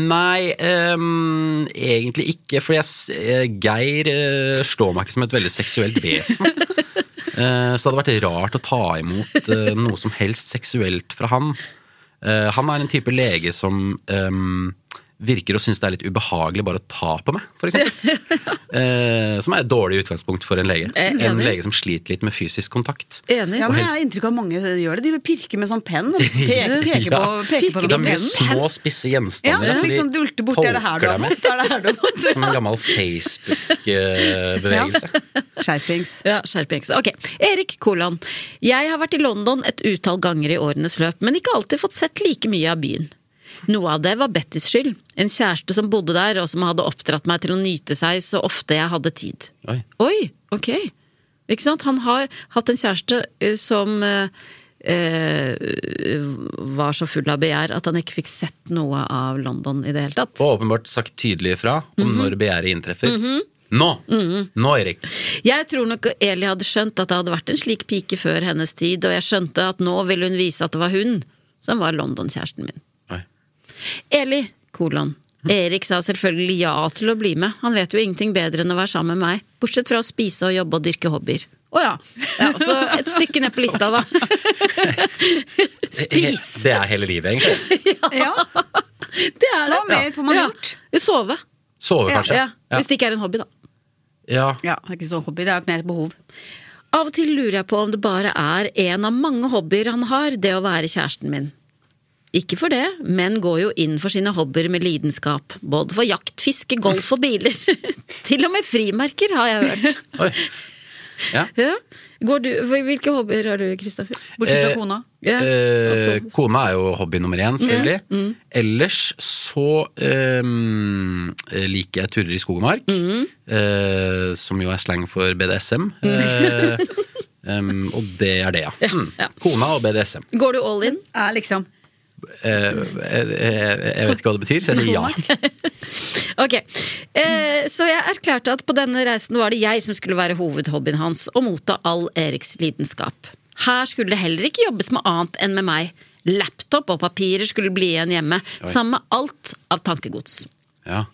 Speaker 4: Nei, ehm, egentlig ikke. Fordi jeg, s- eh, Geir eh, slår meg ikke som et veldig seksuelt vesen. Eh, så det hadde vært rart å ta imot eh, noe som helst seksuelt fra han. Eh, han er en type lege som ehm, virker å synes det er litt ubehagelig bare å ta på meg, f.eks. Uh, som er et dårlig utgangspunkt for en lege.
Speaker 1: Eh,
Speaker 4: En
Speaker 1: enig.
Speaker 4: lege som sliter litt med fysisk kontakt.
Speaker 1: Enig.
Speaker 2: Eh, Ja, men Jeg har inntrykk av at mange eh, gjør det. De pirker med sånn penn. og Peker, peker på,
Speaker 4: Ja.
Speaker 2: peker på
Speaker 4: Det er
Speaker 2: den
Speaker 4: mye
Speaker 2: med pennen.
Speaker 4: små, spisse
Speaker 2: Ja,
Speaker 4: gjenstander.
Speaker 2: det
Speaker 4: altså,
Speaker 2: er
Speaker 4: de
Speaker 2: liksom dulte borti. Er det her du har
Speaker 4: poker deg med.
Speaker 2: vondt? Er det her du har vondt?
Speaker 4: Som en gammel Facebook-bevegelse.
Speaker 2: Skjerpings.
Speaker 1: Ja, skjerpings. Ok. Erik Koland. Jeg har vært i London et utall ganger i årenes løp, men ikke alltid fått sett like mye av byen. Noe av det var Bettys skyld. En kjæreste som bodde der, og som hadde oppdratt meg til å nyte seg så ofte jeg hadde tid.
Speaker 4: Oi.
Speaker 1: Oi, ok. Ikke sant? Han har hatt en kjæreste eh, som eh, eh, var så full av begjær at han ikke fikk sett noe av London i det hele tatt.
Speaker 4: Og åpenbart sagt tydelig ifra om
Speaker 1: Mhm.
Speaker 4: når begjæret inntreffer. Nå! Nå, Erik!
Speaker 1: Jeg tror nok Eli hadde skjønt at det hadde vært en slik pike før hennes tid, og jeg skjønte at nå ville hun vise at det var hun som var London-kjæresten min.
Speaker 4: Oi.
Speaker 1: Eli, Mm. kolon. Erik sa selvfølgelig ja til å bli med, han vet jo ingenting bedre enn å være sammen med meg, bortsett fra å spise og jobbe og dyrke hobbyer. Å ja. ja. Så et stykke ned på lista, da. Spis!
Speaker 4: Det er hele livet, egentlig.
Speaker 2: Ja,
Speaker 1: Det er det.
Speaker 2: Hva mer får man
Speaker 1: Ja.
Speaker 2: gjort?
Speaker 1: Sove.
Speaker 4: Sove, kanskje.
Speaker 1: Ja.
Speaker 4: Ja.
Speaker 1: Hvis det ikke er en hobby, da.
Speaker 4: Ja.
Speaker 2: ja det er ikke så hobby, det er mer et behov.
Speaker 1: Av og til lurer jeg på om det bare er en av mange hobbyer han har, det å være kjæresten min. Ikke for det, men går jo inn for sine hobbyer med lidenskap. Både for jakt, fiske, golf og biler. til og med frimerker, har jeg hørt.
Speaker 4: Oi. Ja.
Speaker 1: Ja. Går du, hvilke hobbyer har du, Kristoffer?
Speaker 2: Bortsett
Speaker 4: Eh,
Speaker 2: fra kona.
Speaker 1: Ja. og Mhm.
Speaker 4: Eh,
Speaker 1: så-
Speaker 4: kona er jo hobby nummer én, selvfølgelig. Ellers så ehm, liker jeg turer i skog og mark.
Speaker 1: Mhm.
Speaker 4: eh, som jo er slang for BDSM. Eh, em, og det er det, ja. Mm.
Speaker 1: ja.
Speaker 4: Kona og BDSM.
Speaker 1: Går du all in?
Speaker 2: Ja, liksom.
Speaker 4: Eh, jeg, jeg, jeg vet ikke hva det betyr, så jeg sier ja.
Speaker 1: Ok, eh, Så jeg erklærte at på denne reisen var det jeg som skulle være hovedhobbyen hans, og motta all Eriks lidenskap. Her skulle det heller ikke jobbes med annet enn med meg. Laptop og papirer skulle bli igjen hjemme, sammen med alt av tankegods.
Speaker 4: ja.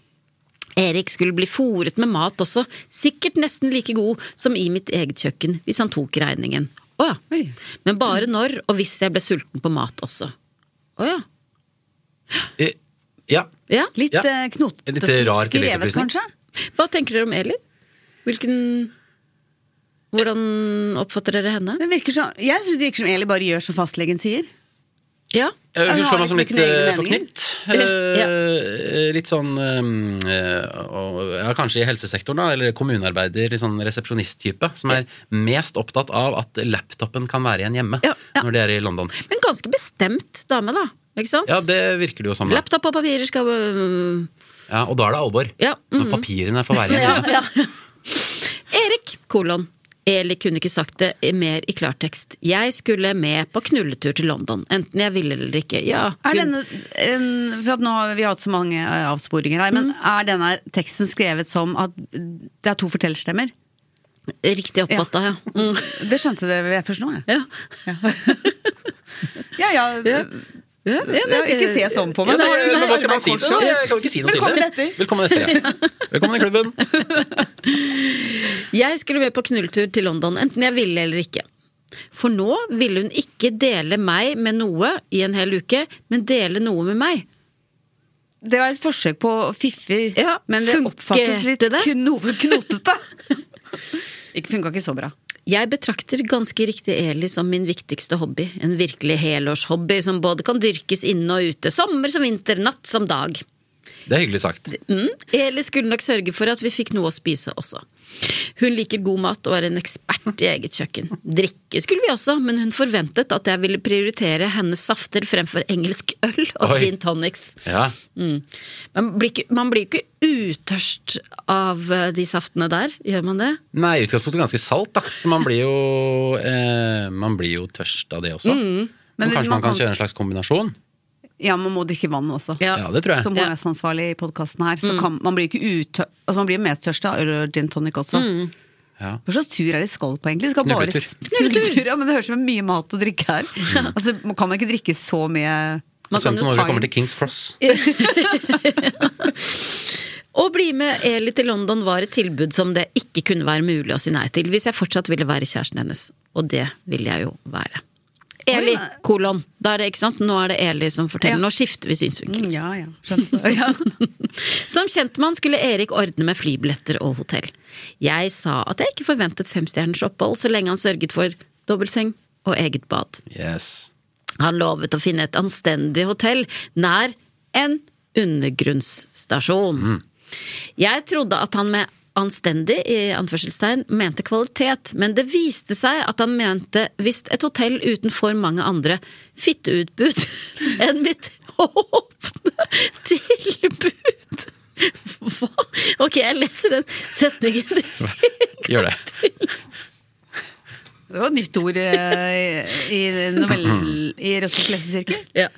Speaker 1: Erik skulle bli fòret med mat også, sikkert nesten like god som i mitt eget kjøkken hvis han tok regningen. Å ja.
Speaker 2: Oi.
Speaker 1: Men bare når og hvis jeg ble sulten på mat også. Å ja.
Speaker 4: Eh, ja.
Speaker 1: ja.
Speaker 2: Litt
Speaker 4: Ja.
Speaker 2: eh, knotete
Speaker 4: En litt rar
Speaker 2: skrevet,
Speaker 4: tilleggsopplysning.
Speaker 2: kanskje?
Speaker 1: Hva tenker dere om Eli? Hvilken Hvordan oppfatter dere henne?
Speaker 2: Det virker som, jeg syns det virker som Eli bare gjør som fastlegen sier.
Speaker 1: Ja.
Speaker 4: Eh,
Speaker 2: Han
Speaker 4: Hun
Speaker 2: har
Speaker 4: slår meg som
Speaker 2: liksom
Speaker 4: litt
Speaker 2: ikke noen
Speaker 4: eh,
Speaker 2: egne meninger.
Speaker 4: forknytt. Eh, eh, Litt sånn eh, og- ja, Kanskje i helsesektoren, da, eller kommunearbeider, litt sånn resepsjonisttype. Som er mest opptatt av at laptopen kan være igjen hjemme
Speaker 1: Ja, ja.
Speaker 4: når de er i London.
Speaker 1: Men ganske bestemt dame, da. Ikke sant?
Speaker 4: Ja, det virker det jo som. da.
Speaker 1: Laptop og papirer skal øh,
Speaker 4: Ja, og da er det alvor.
Speaker 1: Ja,
Speaker 4: Når papirene får være igjen.
Speaker 1: ja, ja.
Speaker 4: hjemme.
Speaker 1: Erik, kolon. Eli kunne ikke sagt det mer i klartekst. Jeg skulle med på knulletur til London, enten jeg ville eller ikke. Ja, hun-
Speaker 2: Er denne, en, for at nå har vi hatt så mange eh, avsporinger her, men er denne teksten skrevet som at det er to fortellerstemmer?
Speaker 1: Riktig oppfatta, ja. Mm.
Speaker 2: Det skjønte det jeg først nå, jeg.
Speaker 1: ja.
Speaker 2: Ja, ja,
Speaker 1: Ja. Ja, ja,
Speaker 2: ja, ikke se sånn på meg.
Speaker 1: Ja, nei,
Speaker 2: Det er jo-
Speaker 1: nei,
Speaker 4: Men hva skal man si til det?
Speaker 2: Korset.
Speaker 4: Jeg kan jo ikke si noe til
Speaker 2: Velkommen
Speaker 4: det. Velkommen etter. Ja. Velkommen i klubben.
Speaker 1: Jeg skulle med på knulletur til London, enten jeg ville eller ikke. For nå ville hun ikke dele meg med noe i en hel uke, men dele noe med meg.
Speaker 2: Det var et forsøk på fiffer,
Speaker 1: Ja,
Speaker 2: men det
Speaker 1: funkerte
Speaker 2: oppfattes litt
Speaker 1: det?
Speaker 2: kno- knotete. Ikke funka ikke så bra.
Speaker 1: Jeg betrakter ganske riktig Eli som min viktigste hobby. En virkelig helårshobby som både kan dyrkes inne og ute, sommer som vinter, natt som dag.
Speaker 4: Det er hyggelig sagt.
Speaker 1: Mm. Eli skulle nok sørge for at vi fikk noe å spise også. Hun liker god mat og er en ekspert i eget kjøkken. Drikke skulle vi også, men hun forventet at jeg ville prioritere hennes safter fremfor engelsk øl og
Speaker 4: Oi.
Speaker 1: gin tonics.
Speaker 4: Ja.
Speaker 1: Mm. Man blir ikke- man blir jo ikke utørst av eh, de saftene der, gjør man det?
Speaker 4: Nei, i utgangspunktet ganske salt, da. Så man blir jo, eh, man blir jo tørst av det også.
Speaker 2: Men
Speaker 4: Men
Speaker 2: det-
Speaker 4: kanskje man
Speaker 2: man
Speaker 4: kan
Speaker 2: kan-
Speaker 4: kjøre en slags kombinasjon?
Speaker 2: Ja, man må drikke vann også.
Speaker 1: Ja.
Speaker 4: Ja, det tror jeg.
Speaker 2: Som
Speaker 1: Ja.
Speaker 2: HMS-ansvarlig i podkasten her. Så kan, man blir ikke utør, altså man blir mer tørst av øl og gin tonic også.
Speaker 4: Ja.
Speaker 2: Hva slags tur er det de skal på, egentlig? De Skal bare
Speaker 4: Knulletur.
Speaker 2: Knulletur, Ja, men det høres ut som mye mat å drikke her. Altså, man kan man ikke drikke så mye
Speaker 1: Man kan
Speaker 4: Sånn
Speaker 1: jo
Speaker 4: når vi
Speaker 2: fight.
Speaker 4: kommer til Kings Cross.
Speaker 1: Å bli med Eli til London var et tilbud som det ikke kunne være mulig å si nei til hvis jeg fortsatt ville være kjæresten hennes. Og det ville jeg jo være. Eli,
Speaker 2: Oi, men-
Speaker 1: kolon. Da er det, ikke sant? Nå er det Eli som forteller.
Speaker 2: Ja.
Speaker 1: Nå skifter vi synsvinkel.
Speaker 2: Mm, Ja, ja. Skjønte. Ja. Mm.
Speaker 1: Som kjentmann skulle Erik ordne med flybilletter og hotell. Jeg sa at jeg ikke forventet femstjerners opphold så lenge han sørget for dobbeltseng og eget bad.
Speaker 4: Yes.
Speaker 1: Han lovet å finne et anstendig hotell nær en undergrunnsstasjon. Jeg trodde at han med anstendig i anførselstegn mente kvalitet, men det viste seg at han mente visst et hotell uten for mange andre fitteutbud enn mitt åpne tilbud. Hva? Ok, jeg leser den setningen.
Speaker 4: Gjør det.
Speaker 2: Det var et nytt ord eh, i i novell... I Rødtes lesesirkel.
Speaker 1: Ja.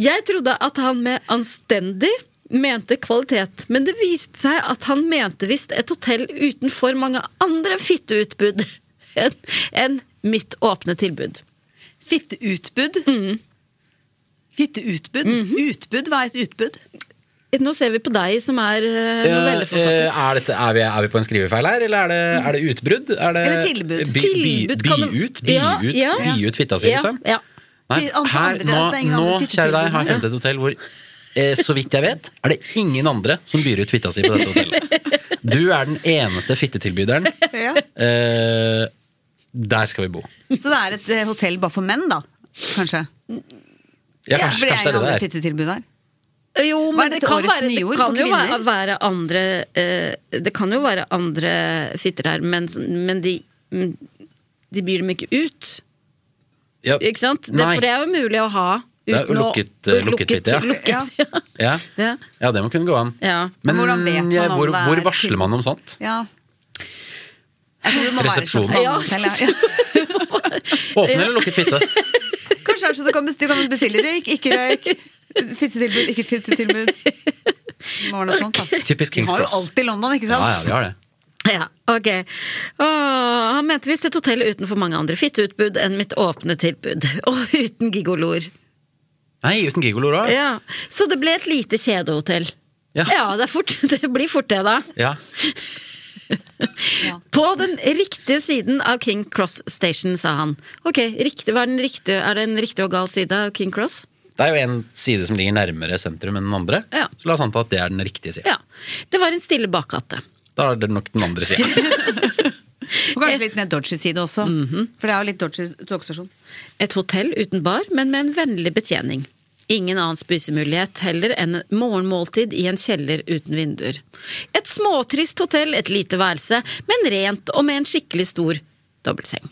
Speaker 1: Jeg trodde at han med anstendig mente kvalitet, men det viste seg at han mente visst et hotell uten for mange andre fitteutbud enn enn mitt åpne tilbud.
Speaker 2: Fitteutbud. Fitteutbud? Utbud? Hva er et utbud?
Speaker 1: Nå ser vi på deg som er eh, novelleforfatter.
Speaker 4: Eh, Er, dette, er, vi, er vi på en skrivefeil her, eller er det, er det utbrudd? Er det,
Speaker 2: Eller tilbud.
Speaker 4: By, by,
Speaker 1: Tilbud kan det-
Speaker 4: byut? Byut?
Speaker 1: Ja, ja.
Speaker 4: byut fitta si,
Speaker 1: Ja,
Speaker 4: liksom?
Speaker 1: ja.
Speaker 4: Nei,
Speaker 2: De andre-
Speaker 4: her,
Speaker 2: det
Speaker 4: nå,
Speaker 2: er ingen
Speaker 4: nå
Speaker 2: andre
Speaker 4: kjære deg, har
Speaker 2: fittetilbud,
Speaker 4: jeg funnet et hotell hvor Eh, så vidt jeg vet, er det ingen andre som byr ut fitta si på dette hotellet. Du er den eneste fittetilbyderen.
Speaker 2: Ja.
Speaker 4: Eh, der skal vi bo.
Speaker 2: Så det er et eh, hotell bare for menn, da? Kanskje? for det
Speaker 4: Ja, kanskje,
Speaker 2: er
Speaker 4: kanskje det
Speaker 2: ingen
Speaker 4: er
Speaker 2: andre
Speaker 4: det der.
Speaker 2: fittetilbud her.
Speaker 1: Jo,
Speaker 2: Hva er
Speaker 1: men det
Speaker 2: dette
Speaker 1: kan,
Speaker 2: årets
Speaker 1: være, det
Speaker 2: nyord
Speaker 1: kan
Speaker 2: på
Speaker 1: jo være,
Speaker 2: kvinner?
Speaker 1: være andre eh, Det kan jo være andre fitter her, men, men de, de byr dem ikke ut.
Speaker 4: Ja.
Speaker 1: Ikke sant? Det,
Speaker 4: Nei.
Speaker 1: for det er jo mulig å ha
Speaker 4: Det er
Speaker 1: uten å-
Speaker 4: lukket, eh, lukket fitte, ja.
Speaker 1: lukket, ja.
Speaker 4: Ja.
Speaker 1: Ja.
Speaker 4: ja, det må kunne gå an.
Speaker 1: Ja.
Speaker 4: Men
Speaker 2: Hvordan vet man
Speaker 4: ja,
Speaker 2: om
Speaker 4: hvor,
Speaker 2: det er
Speaker 4: hvor
Speaker 2: et
Speaker 4: varsler man om sånt?
Speaker 2: Ja. Jeg tror det må være et slags
Speaker 4: Resepsjonen.
Speaker 2: mannehotell. Ja. Ja.
Speaker 4: Åpen eller lukket fitte?
Speaker 2: Kanskje det er sånn at du kan bestille, du kan bestille røyk, ikke røyk. Fittetilbud, ikke fittetilbud. Det Må være noe sånt, da.
Speaker 4: Typisk Kings
Speaker 2: Vi har jo
Speaker 4: Cross.
Speaker 2: alt i London, ikke sant?
Speaker 4: Ja, ja, vi har det.
Speaker 1: Ja, ok. Åh, han mente visst et hotell utenfor mange andre fitteutbud enn mitt åpne tilbud. Og uten gigoloer.
Speaker 4: Nei, uten gigolor òg.
Speaker 1: Ja. Så det ble et lite kjedehotell.
Speaker 4: Ja.
Speaker 1: Ja, det, er fort, det blir fort det, da.
Speaker 4: Ja.
Speaker 1: På den riktige siden av King Cross Station, sa han. Ok, riktig, hva er, den riktige, er det en riktig og gal side av King Cross?
Speaker 4: Det er jo en side som ligger nærmere sentrum enn den andre.
Speaker 1: Ja.
Speaker 4: Så la oss anta at det er den riktige sida.
Speaker 1: Ja. Det var en stille bakgate.
Speaker 4: Da er det nok den andre sida.
Speaker 2: Og kanskje litt mer Dodgy-side også. For det er jo litt Dodgy togstasjon.
Speaker 1: Et hotell uten bar, men med en vennlig betjening. Ingen annen spisemulighet heller enn morgenmåltid i en kjeller uten vinduer. Et småtrist hotell, et lite værelse, men rent og med en skikkelig stor dobbeltseng.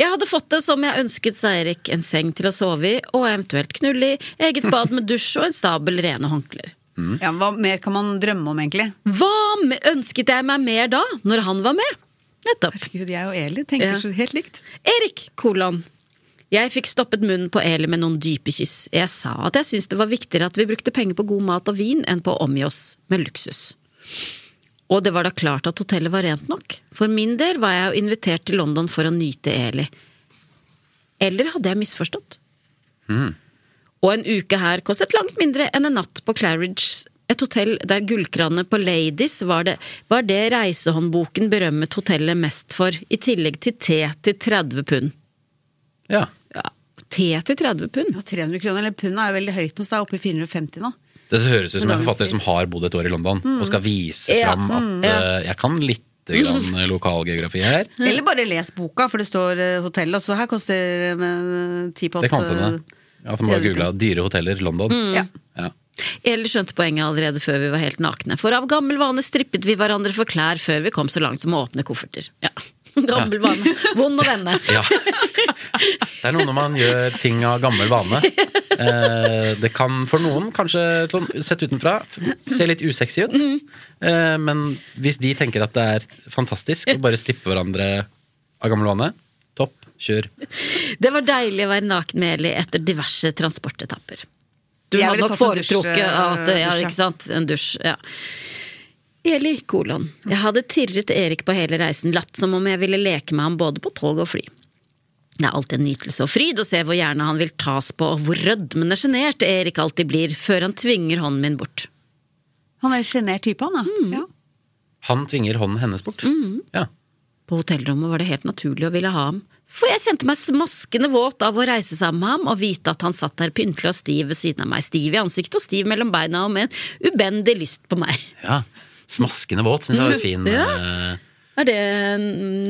Speaker 1: Jeg hadde fått det som jeg ønsket, sa Erik. En seng til å sove i, og eventuelt knulle i, eget bad med dusj og en stabel rene håndklær.
Speaker 4: Mhm.
Speaker 2: Ja, hva mer kan man drømme om, egentlig?
Speaker 1: Hva me- ønsket jeg meg mer da, når han var med? Nettopp.
Speaker 2: Gud, jeg og Eli tenker
Speaker 1: Ja.
Speaker 2: så helt likt.
Speaker 1: Erik, kolon. Jeg fikk stoppet munnen på Eli med noen dype kyss. Jeg sa at jeg syntes det var viktigere at vi brukte penger på god mat og vin enn på å omgi oss med luksus. Og det var da klart at hotellet var rent nok. For min del var jeg jo invitert til London for å nyte Eli. Eller hadde jeg misforstått? Og en uke her kostet langt mindre enn en natt på Claridge's. Et hotell der gullkranene på Ladies var det, var det reisehåndboken berømmet hotellet mest for, i tillegg til te til 30 pund.
Speaker 4: Ja.
Speaker 1: Ja, te til 30 pund?
Speaker 2: Ja, 300 kroner eller pund er jo veldig høyt nå, så det er oppe i 450 nå.
Speaker 4: Det høres ut som en
Speaker 2: Dagens
Speaker 4: forfatter som
Speaker 2: pris.
Speaker 4: har bodd et år i London,
Speaker 2: Mm.
Speaker 4: og skal vise
Speaker 1: Ja,
Speaker 4: fram at eh, jeg kan lite grann
Speaker 2: Mm.
Speaker 4: lokalgeografi her.
Speaker 2: Eller bare les boka, for det står eh, hotell, og så her koster eh, men, eh, ti pott.
Speaker 4: Det kan hende.
Speaker 2: eh, Mm.
Speaker 4: At man bare
Speaker 2: 300
Speaker 4: googla 'dyre hoteller London'.
Speaker 2: Ja.
Speaker 4: Ja.
Speaker 1: Eller skjønte poenget allerede før vi var helt nakne. For av gammel vane strippet vi hverandre for klær før vi kom så langt som å åpne kofferter. Ja. Gammel vane. Vond å vende.
Speaker 4: Ja. Det er noe når man gjør ting av gammel vane. Eh, det kan for noen kanskje sånn, sett utenfra se litt usexy ut. Eh, men hvis de tenker at det er fantastisk å bare strippe hverandre av gammel vane, topp, kjør.
Speaker 1: Det var deilig å være naken med Eli etter diverse transportetapper. Du
Speaker 2: Jeg
Speaker 1: hadde
Speaker 2: ville
Speaker 1: nok
Speaker 2: tatt en dusj,
Speaker 1: foretrukket at
Speaker 2: eh,
Speaker 1: Ja,
Speaker 2: dusj, ja.
Speaker 1: ikke sant? En dusj. ja. Eli, kolon. Jeg hadde tirret Erik på hele reisen, latt som om jeg ville leke med ham både på tog og fly. Det er alltid en nytelse og fryd å se hvor gjerne han vil tas på, og hvor rødmende sjenert Erik alltid blir før han tvinger hånden min bort.
Speaker 2: Han er en sjenert type, han da. Ja.
Speaker 4: Han tvinger hånden hennes bort. Ja.
Speaker 1: På hotellrommet var det helt naturlig å ville ha ham, for jeg kjente meg smaskende våt av å reise sammen med ham og vite at han satt der pyntelig og stiv ved siden av meg, stiv i ansiktet og stiv mellom beina og med en ubendig lyst på meg.
Speaker 4: ja. Smaskende våt syns jeg var et fin eh,
Speaker 1: Er det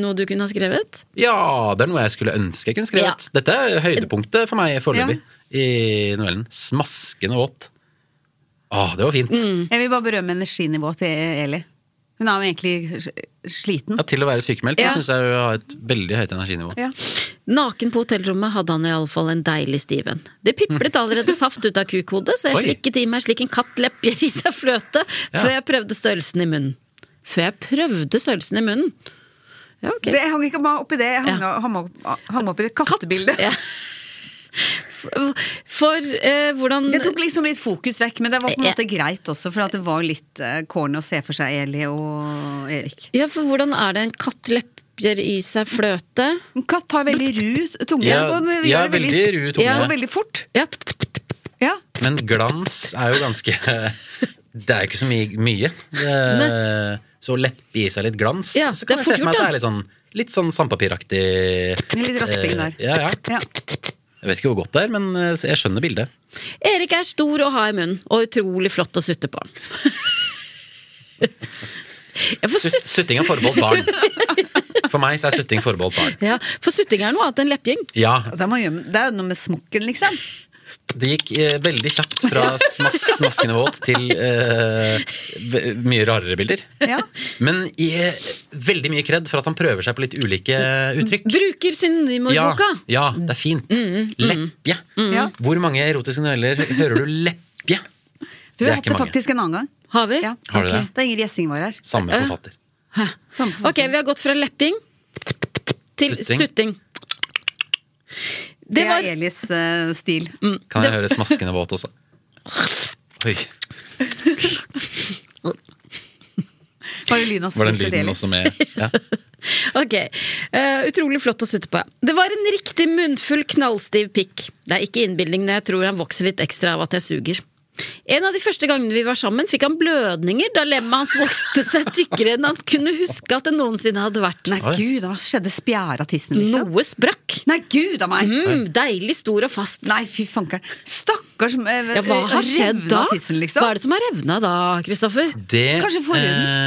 Speaker 1: noe du kunne ha skrevet?
Speaker 4: Ja, det er noe jeg skulle ønske jeg kunne skrevet. Dette er høydepunktet for meg foreløpig i novellen. Smaskende våt. Å, det var fint.
Speaker 2: Jeg vil bare berømme energinivået til Eli. Hun er jo egentlig s- sliten.
Speaker 4: Ja, til å være sykemeldt
Speaker 2: Ja.
Speaker 4: ja. syns jeg du har et veldig høyt energinivå.
Speaker 2: Ja.
Speaker 1: Naken på hotellrommet hadde han iallfall en deilig stiven. Det piplet allerede saft ut av kukhodet, så jeg
Speaker 4: Oi.
Speaker 1: slikket i meg slik en katt lepper i seg fløte før jeg prøvde størrelsen i munnen. Før jeg prøvde størrelsen i munnen? Ja, ok.
Speaker 2: Det, jeg hang ikke bare oppi det, jeg hang, hang, opp, hang opp i det kattebildet.
Speaker 1: Ja. For eh, hvordan
Speaker 2: Det tok liksom litt fokus vekk, men det var på en
Speaker 1: Ja.
Speaker 2: måte greit også, for at det var litt eh, corny å se for seg Eli og Erik.
Speaker 1: Ja, for hvordan er det en katt lepper i seg fløte?
Speaker 2: En katt har veldig ru tunge.
Speaker 4: Ja,
Speaker 2: og den
Speaker 4: ja,
Speaker 2: gjør det
Speaker 4: veldig ru tunge.
Speaker 2: Ja, og veldig fort.
Speaker 1: Ja,
Speaker 2: Ja.
Speaker 4: Men glans er jo ganske Det er jo ikke så mye. mye. Det, så å leppe i seg litt glans,
Speaker 1: Ja,
Speaker 4: så kan
Speaker 1: det
Speaker 4: jeg
Speaker 1: er
Speaker 4: se for meg at det
Speaker 1: fort
Speaker 4: er litt sånn, litt sånn sandpapiraktig
Speaker 2: Med litt rasping der.
Speaker 4: Eh, ja, ja.
Speaker 2: Ja.
Speaker 4: Jeg vet ikke hvor godt det er, men eh, jeg skjønner bildet.
Speaker 1: Erik er stor og hard i munnen, og utrolig flott å sutte på. Ja, for,
Speaker 4: Sutt-
Speaker 1: sutt,
Speaker 4: Sutting er forbeholdt barn. For meg så er sutting forbeholdt barn.
Speaker 1: ja, for sutting er noe annet enn lepping.
Speaker 4: Ja,
Speaker 2: Altså, det må gjøre- det er jo noe med smokken, liksom.
Speaker 4: Det gikk eh, veldig kjapt fra smas smaskende våt til eh, v- mye rarere bilder.
Speaker 2: Ja.
Speaker 4: Men i, eh, veldig mye kred for at han prøver seg på litt ulike
Speaker 2: Mm.
Speaker 4: uttrykk.
Speaker 1: Bruker
Speaker 4: Ja,
Speaker 1: synonymordboka.
Speaker 4: ja, det er fint.
Speaker 2: mm,
Speaker 4: Leppje.
Speaker 2: Ja.
Speaker 4: Hvor mange erotiske noveller hører du leppje?
Speaker 2: Tror
Speaker 4: Det
Speaker 2: jeg
Speaker 4: er
Speaker 2: hatt
Speaker 4: ikke
Speaker 2: det
Speaker 4: mange.
Speaker 2: faktisk en annen gang.
Speaker 1: Har vi?
Speaker 2: Ja.
Speaker 4: Har du
Speaker 1: Ok.
Speaker 4: det?
Speaker 2: Da Ingrid Gjessing var her.
Speaker 4: Samme forfatter.
Speaker 2: Samme for-
Speaker 1: Ok, vi har gått fra lepping til
Speaker 4: Sutting.
Speaker 1: sutting.
Speaker 2: Det
Speaker 1: Det var Mm.
Speaker 2: er Elis eh, stil.
Speaker 4: Kan jeg høre smaskende våt også? Oi,
Speaker 2: Var det lyden av
Speaker 4: var den
Speaker 2: skritt til
Speaker 4: lyden
Speaker 2: Eli?
Speaker 4: også med? Ja.
Speaker 1: Ok, Eh, Utrolig flott å sutte på. Det var en riktig munnfull, knallstiv pikk. Det er ikke innbilning når jeg tror han vokser litt ekstra av at jeg suger. En av de første gangene vi var sammen, fikk han blødninger da lemmet hans vokste seg tykkere enn han kunne huske at det noensinne hadde vært.
Speaker 2: Nei,
Speaker 4: Oi.
Speaker 2: gud, hva skjedde? Spjæra tissen, liksom?
Speaker 1: Noe sprakk.
Speaker 2: Nei, gud av meg!
Speaker 1: Mm, deilig stor og fast.
Speaker 2: Nei, fy fankeren. Stakkars eh,
Speaker 1: Ja, hva har skjedd
Speaker 2: revna
Speaker 1: da?
Speaker 2: Tissen, liksom.
Speaker 1: Hva er det som har revna da, Kristoffer?
Speaker 4: Det,
Speaker 2: Kanskje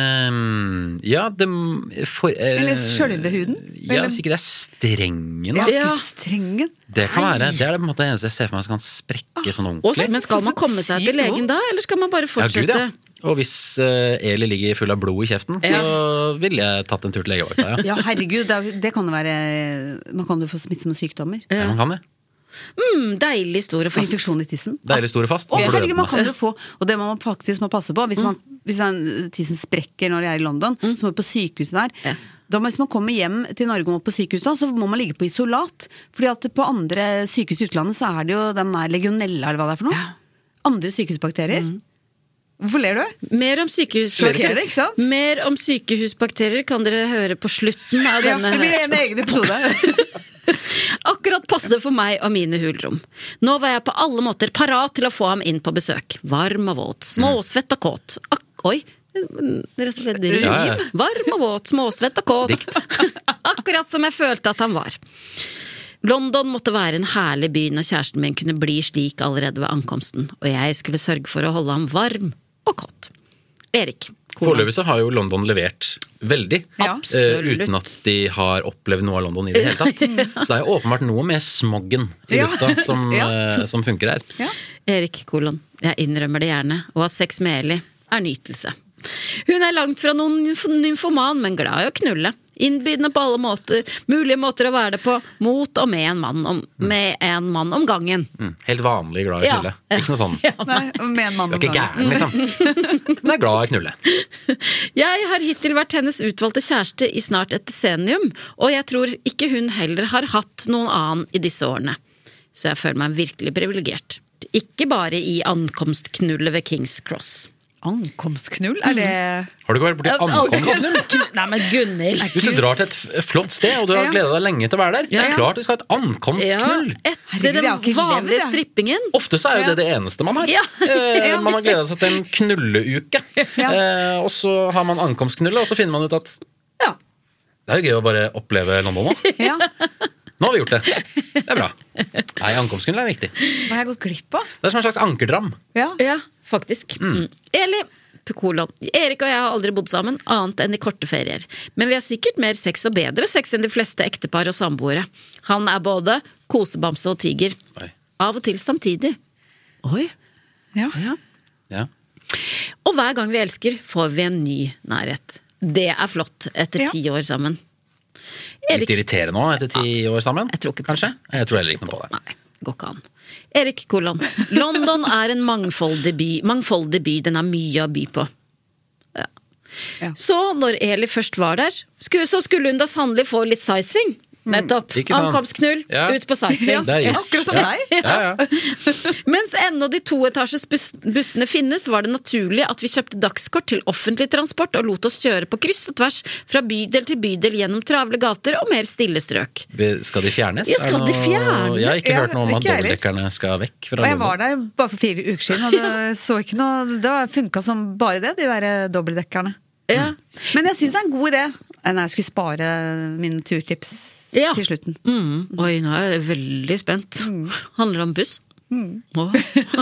Speaker 4: forhuden? ja, det for, eh,
Speaker 2: Eller sjølve huden?
Speaker 4: Ja,
Speaker 2: Eller-
Speaker 4: hvis ikke det er strengen, da.
Speaker 2: Ja,
Speaker 1: Ja.
Speaker 2: ut strengen.
Speaker 4: Det kan være. Det er det på en måte eneste jeg ser for meg som kan
Speaker 2: Ah,
Speaker 4: sprekke sånn
Speaker 1: Og,
Speaker 4: ordentlig.
Speaker 1: men skal man komme seg til
Speaker 2: Sykt vondt.
Speaker 1: legen da, eller skal man bare
Speaker 4: Ja, gud,
Speaker 1: fortsette?
Speaker 4: ja. Og hvis eh, Eli ligger full av blod i kjeften, så ville jeg tatt en tur til legevakta. Ja.
Speaker 2: Ja, herregud, det, er jo- det kan jo være Man kan jo få smittsomme sykdommer.
Speaker 4: Ja, man kan det.
Speaker 1: Mm, deilig stor og
Speaker 2: Og
Speaker 1: fast.
Speaker 2: infeksjon i tissen.
Speaker 4: Deilig store fast.
Speaker 2: Å, herregud, man
Speaker 4: blødende.
Speaker 2: kan jo få, og det man faktisk må passe på Hvis, man, hvis den tissen sprekker når de er i London,
Speaker 4: Mm.
Speaker 2: så må du på sykehuset der.
Speaker 1: Ja.
Speaker 2: Da må, hvis man kommer hjem til Norge og må på sykehus, da, så må man ligge på isolat. Fordi at på andre sykehus i utlandet så er det jo den der legionella eller hva det er for noe. Andre sykehusbakterier.
Speaker 4: Mm.
Speaker 2: Hvorfor ler du?
Speaker 1: Mer om, sykehus...
Speaker 2: Sjokkerende, ikke sant?
Speaker 1: Mer om sykehusbakterier kan dere høre på slutten av
Speaker 2: Ja,
Speaker 1: denne.
Speaker 2: det blir en egen episode.
Speaker 1: Akkurat passe for meg og mine hulrom. Nå var jeg på alle måter parat til å få ham inn på besøk. Varm og våt, småsvett og kåt. Ak oi. Rett og slett rim.
Speaker 4: Ja, ja.
Speaker 1: Varm og våt, småsvett og kåt. Akkurat som jeg følte at han var. London måtte være en herlig by når kjæresten min kunne bli slik allerede ved ankomsten, og jeg skulle sørge for å holde ham varm og kåt. Erik. kolon.
Speaker 4: Foreløpig så har jo London levert veldig.
Speaker 2: Ja.
Speaker 4: eh,
Speaker 1: Absolutt.
Speaker 4: uten at de har opplevd noe av London i det hele tatt. Så det er jo åpenbart noe med smoggen i
Speaker 2: Ja.
Speaker 4: lufta som,
Speaker 2: Ja.
Speaker 4: eh, som funker her.
Speaker 2: Ja.
Speaker 1: Erik kolon. Jeg innrømmer det gjerne. Å ha sex med Eli er nytelse. Hun er langt fra noen nymf- nymfoman, men glad i å knulle. Innbydende på alle måter, mulige måter å være det på, mot og med en mann om, med en mann om gangen.
Speaker 4: Mm. Helt vanlig glad i å
Speaker 1: Ja.
Speaker 4: knulle. Ikke noe sånn.
Speaker 1: Ja,
Speaker 2: Nei, med en mann
Speaker 4: Du er ikke gæren, liksom. Men er glad i å knulle.
Speaker 1: Jeg har hittil vært hennes utvalgte kjæreste i snart et desenium, og jeg tror ikke hun heller har hatt noen annen i disse årene. Så jeg føler meg virkelig privilegert. Ikke bare i ankomstknullet ved Kings Cross.
Speaker 2: Ankomstknull? Er det
Speaker 4: Har du ikke vært borti ankomst?
Speaker 1: Ankomstknull? Nei, men Gunhild!
Speaker 4: Hvis du drar til et f- flott sted, og du har
Speaker 2: Ja.
Speaker 4: gleda deg lenge til å være der,
Speaker 1: Ja.
Speaker 4: klart du skal ha et ankomstknull.
Speaker 1: etter
Speaker 2: Herregud, jeg
Speaker 1: den
Speaker 2: har ikke levd,
Speaker 1: vanlige
Speaker 2: jeg.
Speaker 1: strippingen.
Speaker 4: Ofte så er jo
Speaker 2: Ja.
Speaker 4: det det eneste man har.
Speaker 1: Ja.
Speaker 4: Eh, Man har gleda seg til en knulleuke.
Speaker 2: Ja.
Speaker 4: Eh, og så har man ankomstknullet, og så finner man ut at
Speaker 1: Ja.
Speaker 4: det er jo gøy å bare oppleve London nå.
Speaker 2: Mm. Ja.
Speaker 4: Nå har vi gjort det. Det er bra. Nei, ankomstknullet er viktig. Det
Speaker 2: Hva har jeg gått glipp av?
Speaker 4: er som en slags ankerdram.
Speaker 2: Ja.
Speaker 1: Ja, faktisk. Mm. Eli, kolon. Erik og jeg har aldri bodd sammen, annet enn i korte ferier. Men vi har sikkert mer sex og bedre sex enn de fleste ektepar og samboere. Han er både kosebamse og tiger.
Speaker 4: Oi.
Speaker 1: Av og til samtidig. Oi.
Speaker 2: Ja.
Speaker 1: Ja.
Speaker 4: Ja.
Speaker 1: Og hver gang vi elsker, får vi en ny nærhet. Det er flott etter
Speaker 2: Ja.
Speaker 1: ti år sammen.
Speaker 4: Litt irriterende òg, etter ti år sammen.
Speaker 1: Jeg tror ikke på
Speaker 4: Kanskje? Jeg tror heller ikke noe på det.
Speaker 1: Nei, går ikke an. Erik Kolon. London er en mangfoldig by. Mangfoldig by, den har mye å by på. Ja.
Speaker 2: Ja.
Speaker 1: Så når Eli først var der, skulle, så skulle hun da sannelig få litt sightseeing. Nettopp.
Speaker 4: Mm. Ikke sant?
Speaker 1: Ankomstknull,
Speaker 4: Ja.
Speaker 1: ut på sightseeing.
Speaker 4: Det er gjort.
Speaker 2: Akkurat som
Speaker 4: Ja.
Speaker 2: deg.
Speaker 4: Ja, ja.
Speaker 1: Mens ennå de toetasjes bus bussene finnes, var det naturlig at vi kjøpte dagskort til offentlig transport og lot oss kjøre på kryss og tvers fra bydel til bydel gjennom travle gater og mer stille strøk.
Speaker 4: Vi- Skal de fjernes?
Speaker 1: Ja, skal
Speaker 4: Er det
Speaker 1: de fjerne?
Speaker 4: Jeg har ikke
Speaker 2: Ja,
Speaker 4: hørt noe om
Speaker 2: ikke
Speaker 4: at
Speaker 2: jeg heller.
Speaker 4: dobbeltdekkerne skal vekk. Fra
Speaker 2: Og jeg
Speaker 4: London.
Speaker 2: var der bare for fire uker siden, og det så ikke noe Det funka som bare det, de der eh, dobbeltdekkerne.
Speaker 1: Ja.
Speaker 2: Men jeg syns det er en god idé. Eh, Nei, jeg skulle spare mine turtips
Speaker 1: Ja.
Speaker 2: til slutten.
Speaker 1: Mm. Oi, nå er jeg veldig spent.
Speaker 2: Mm.
Speaker 1: Handler det om buss? Åh.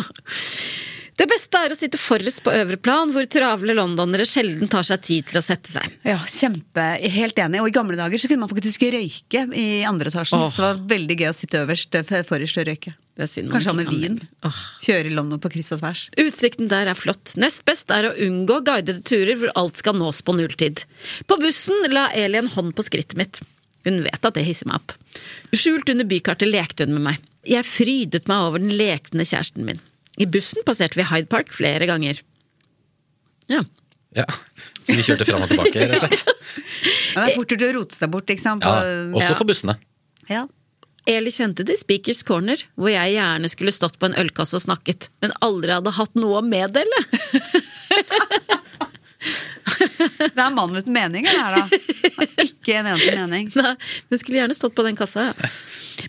Speaker 1: det beste er å sitte forrest på øvre plan, hvor travle londonere sjelden tar seg tid til å sette seg.
Speaker 2: Ja, kjempe, Helt enig. Og i gamle dager så kunne man faktisk røyke i andre etasjen.
Speaker 1: Åh.
Speaker 2: Så det var veldig gøy å sitte øverst eh, forrest og røyke.
Speaker 1: Det er synd man ikke
Speaker 2: Kanskje ha med
Speaker 1: kan
Speaker 2: vin.
Speaker 1: lenger. Åh.
Speaker 2: Kjøre i London på kryss og tvers.
Speaker 1: Utsikten der er flott. Nest best er å unngå guidede turer hvor alt skal nås på nulltid. På bussen la Eli en hånd på skrittet mitt. Hun vet at det hisser meg opp. Skjult under bykartet lekte hun med meg. Jeg frydet meg over den lekne kjæresten min. I bussen passerte vi Hyde Park flere ganger. Ja.
Speaker 4: Ja. Så de kjørte fram og tilbake, rett og slett.
Speaker 2: Men
Speaker 1: Eh.
Speaker 2: det er fort gjort å rote seg bort, ikke sant.
Speaker 4: Ja,
Speaker 2: På,
Speaker 4: også for bussene.
Speaker 2: ja.
Speaker 1: Eli kjente til Speakers Corner, hvor jeg gjerne skulle stått på en ølkasse og snakket, men aldri hadde hatt noe å meddele.
Speaker 2: Det er en mann uten mening, det her, da. Ikke en eneste mening.
Speaker 1: Nei, men skulle gjerne stått på den kassa. ja.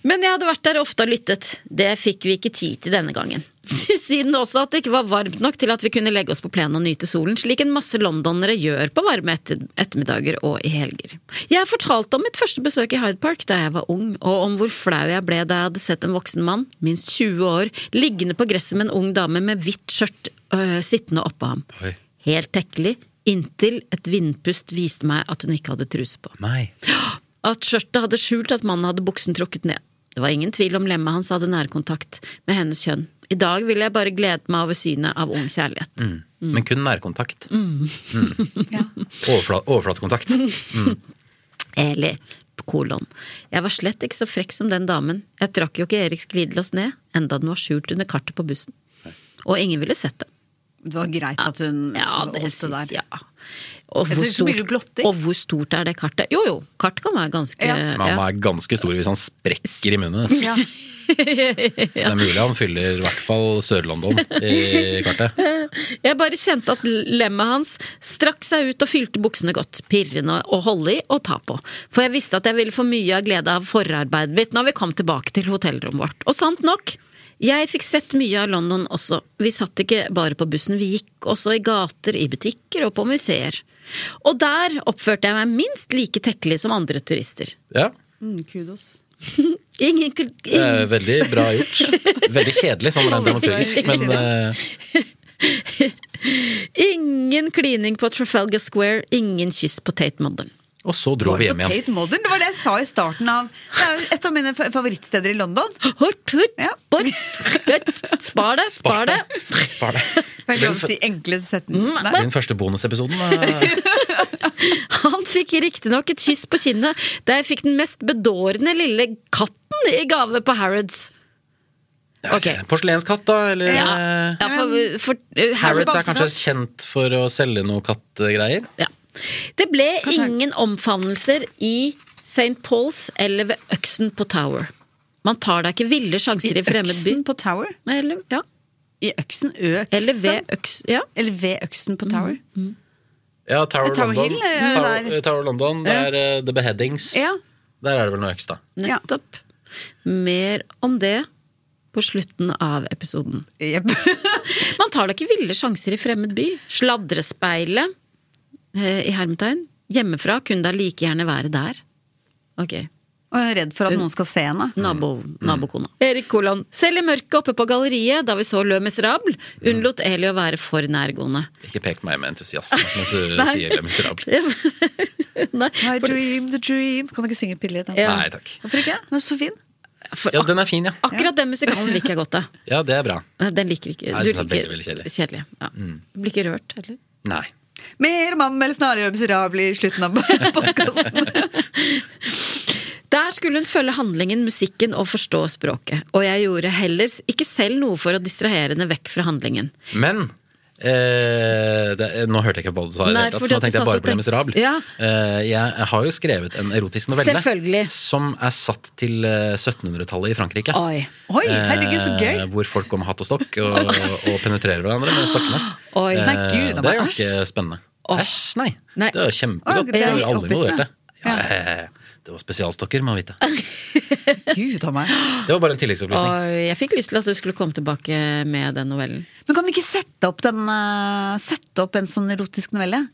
Speaker 1: Men jeg hadde vært der ofte og lyttet. Det fikk vi ikke tid til denne gangen. Siden også at det ikke var varmt nok til at vi kunne legge oss på plenen og nyte solen, slik en masse londonere gjør på varme etter ettermiddager og i helger. Jeg fortalte om mitt første besøk i Hyde Park da jeg var ung, og om hvor flau jeg ble da jeg hadde sett en voksen mann, minst 20 år, liggende på gresset med en ung dame med hvitt skjørt øh, sittende oppå ham.
Speaker 4: Oi.
Speaker 1: Helt tekkelig, inntil et vindpust viste meg at hun ikke hadde truse på.
Speaker 4: Nei.
Speaker 1: At skjørtet hadde skjult at mannen hadde buksen trukket ned. Det var ingen tvil om lemmet hans hadde nærkontakt med hennes kjønn. I dag ville jeg bare gledet meg over synet av ung kjærlighet.
Speaker 4: Mm. Men kun nærkontakt. Mm.
Speaker 2: Ja.
Speaker 4: Overfla overflatekontakt.
Speaker 1: Eli, kolon. Jeg var slett ikke så frekk som den damen. Jeg trakk jo ikke Eriks glidelås ned, enda den var skjult under kartet på bussen. Og ingen ville sett det.
Speaker 2: Det var greit at hun
Speaker 1: Ja, det
Speaker 2: holdt det
Speaker 1: syns
Speaker 2: der.
Speaker 1: jeg. Og
Speaker 2: Jeg
Speaker 1: hvor,
Speaker 2: tror så blir det
Speaker 1: stort,
Speaker 2: glotting.
Speaker 1: og hvor stort er det kartet? Jo jo, kart kan være ganske
Speaker 2: Ja.
Speaker 1: ja.
Speaker 4: Mamma er ganske stor hvis han sprekker i munnen. Det
Speaker 2: Ja.
Speaker 4: er mulig han fyller i hvert fall Sør-London i kartet.
Speaker 1: Jeg bare kjente at lemmet hans strakk seg ut og fylte buksene godt, pirrende å holde i og ta på, for jeg visste at jeg ville få mye av glede av forarbeidet mitt når vi kom tilbake til hotellrommet vårt. Og sant nok, jeg fikk sett mye av London også, vi satt ikke bare på bussen, vi gikk også i gater, i butikker og på museer. Og der oppførte jeg meg minst like tekkelig som andre turister.
Speaker 4: Ja,
Speaker 2: Mm, kudos.
Speaker 1: Ingen, kul-
Speaker 4: det
Speaker 1: ingen
Speaker 4: er veldig bra gjort. Veldig kjedelig sånn rent dramaturgisk, men eh,
Speaker 1: Ingen klining på Trafalgar Square, ingen kyss på Tate Modern.
Speaker 4: eh, Og så dro
Speaker 2: Var
Speaker 4: vi
Speaker 2: det
Speaker 4: hjem
Speaker 2: på
Speaker 4: igjen.
Speaker 2: Tate Modern? Det var det jeg sa i starten av Det er jo et av mine fa- favorittsteder i London.
Speaker 1: Hort, hut,
Speaker 2: Ja.
Speaker 1: bort, hut. Spar det, spar det.
Speaker 4: Spar det.
Speaker 2: Får jeg lov til å si enkle
Speaker 1: Mm,
Speaker 2: setninger?
Speaker 4: Den første bonusepisoden eh,
Speaker 1: Han fikk riktignok et kyss på kinnet da jeg fikk den mest bedårende lille katten i gave på Harrods. Ok.
Speaker 4: Porselenskatt, da? Eller
Speaker 1: Ja,
Speaker 4: eh,
Speaker 1: ja for, for eh,
Speaker 4: Harrods er
Speaker 1: Harrods
Speaker 4: kanskje kjent for å selge noe kattgreier?
Speaker 1: ja. Det ble ingen omfavnelser i St. Pauls eller ved Øksen på Tower. Man tar da ikke ville sjanser i, fremmed by.
Speaker 2: Øksen på Tower?
Speaker 1: Eller, ja.
Speaker 2: I Øksen? Øksen?
Speaker 1: eller Mm. ved Øks... Ja.
Speaker 2: Eller ved Øksen på Tower?
Speaker 4: Ja, Tower,
Speaker 2: Tower
Speaker 4: London.
Speaker 2: Hill er jo
Speaker 4: Tower, eh,
Speaker 2: der.
Speaker 4: Tower London. Det er eh, The Beheadings.
Speaker 2: Ja.
Speaker 4: Der er det vel noe øks, da.
Speaker 2: Ja.
Speaker 1: Nettopp. Mer om det på slutten av episoden.
Speaker 2: Jepp.
Speaker 1: Man tar da ikke ville sjanser i fremmed by. Sladrespeilet eh, i hermetegn. Hjemmefra kunne da like gjerne være der. Ok.
Speaker 2: Og jeg er redd for at noen skal se henne.
Speaker 1: Nabo,
Speaker 4: Mm.
Speaker 1: nabokona. Erik Kolan. Selv i mørket oppe på galleriet da vi så Le Miserable, unnlot Eli å være for nærgående.
Speaker 4: Ikke pek på meg med entusiasme mens du sier Le Miserable.
Speaker 1: Nei,
Speaker 2: I
Speaker 1: for,
Speaker 2: dream the dream Kan du ikke synge Pille litt? da?
Speaker 1: Ja.
Speaker 4: Nei takk.
Speaker 2: Hvorfor ikke? Den er så fin.
Speaker 1: for
Speaker 4: Ja,
Speaker 1: ak
Speaker 4: den er fin, ja.
Speaker 1: akkurat den musikalen liker jeg godt, da.
Speaker 4: Ja, det er bra.
Speaker 1: Den liker vi ikke.
Speaker 4: Nei, jeg
Speaker 1: Du
Speaker 4: synes den er
Speaker 1: liker-
Speaker 4: veldig, Mm. veldig
Speaker 1: kjedelig. Ja. Du blir ikke rørt, heller.
Speaker 4: Nei.
Speaker 2: Mer om ham, eller snarere om miserable i slutten av podkasten.
Speaker 1: Der skulle hun følge handlingen, musikken og forstå språket. Og jeg gjorde heller ikke selv noe for å distrahere henne vekk fra handlingen.
Speaker 4: Men eh, det, nå hørte jeg ikke på hva du sa, i det
Speaker 1: Nei,
Speaker 4: hele tatt,
Speaker 1: fordi
Speaker 4: for
Speaker 1: at du
Speaker 4: nå tenkte jeg
Speaker 1: satt og
Speaker 4: bare på Le
Speaker 1: tenkte-
Speaker 4: Miserable.
Speaker 1: Ja.
Speaker 4: Eh, jeg har jo skrevet en erotisk novelle
Speaker 1: Selvfølgelig.
Speaker 4: som er satt til eh, 1700-tallet i Frankrike.
Speaker 1: Oi.
Speaker 2: Oi, herregud, så
Speaker 4: Eh,
Speaker 2: gøy!
Speaker 4: hvor folk går med hatt og stokk og, og penetrerer hverandre med stokkene.
Speaker 1: Oi.
Speaker 4: Eh,
Speaker 2: Nei, gud, det
Speaker 4: det
Speaker 2: var
Speaker 4: er ganske
Speaker 2: æsj.
Speaker 4: spennende.
Speaker 1: Åh.
Speaker 4: Æsj, nei.
Speaker 1: Nei.
Speaker 4: Det var
Speaker 2: Åh,
Speaker 4: kjempegodt.
Speaker 2: det
Speaker 4: Det
Speaker 2: er
Speaker 4: var alle
Speaker 2: opphissende.
Speaker 4: involverte.
Speaker 2: Ja.
Speaker 4: Ja, eh, det var spesialstokker, må man vite. Eh.
Speaker 2: Gud, av meg.
Speaker 4: Det var bare en tilleggsopplysning.
Speaker 1: Oi, jeg fikk lyst til at du skulle komme tilbake med den novellen.
Speaker 2: Men kan vi ikke sette opp, den, eh, sette opp en sånn erotisk novelle?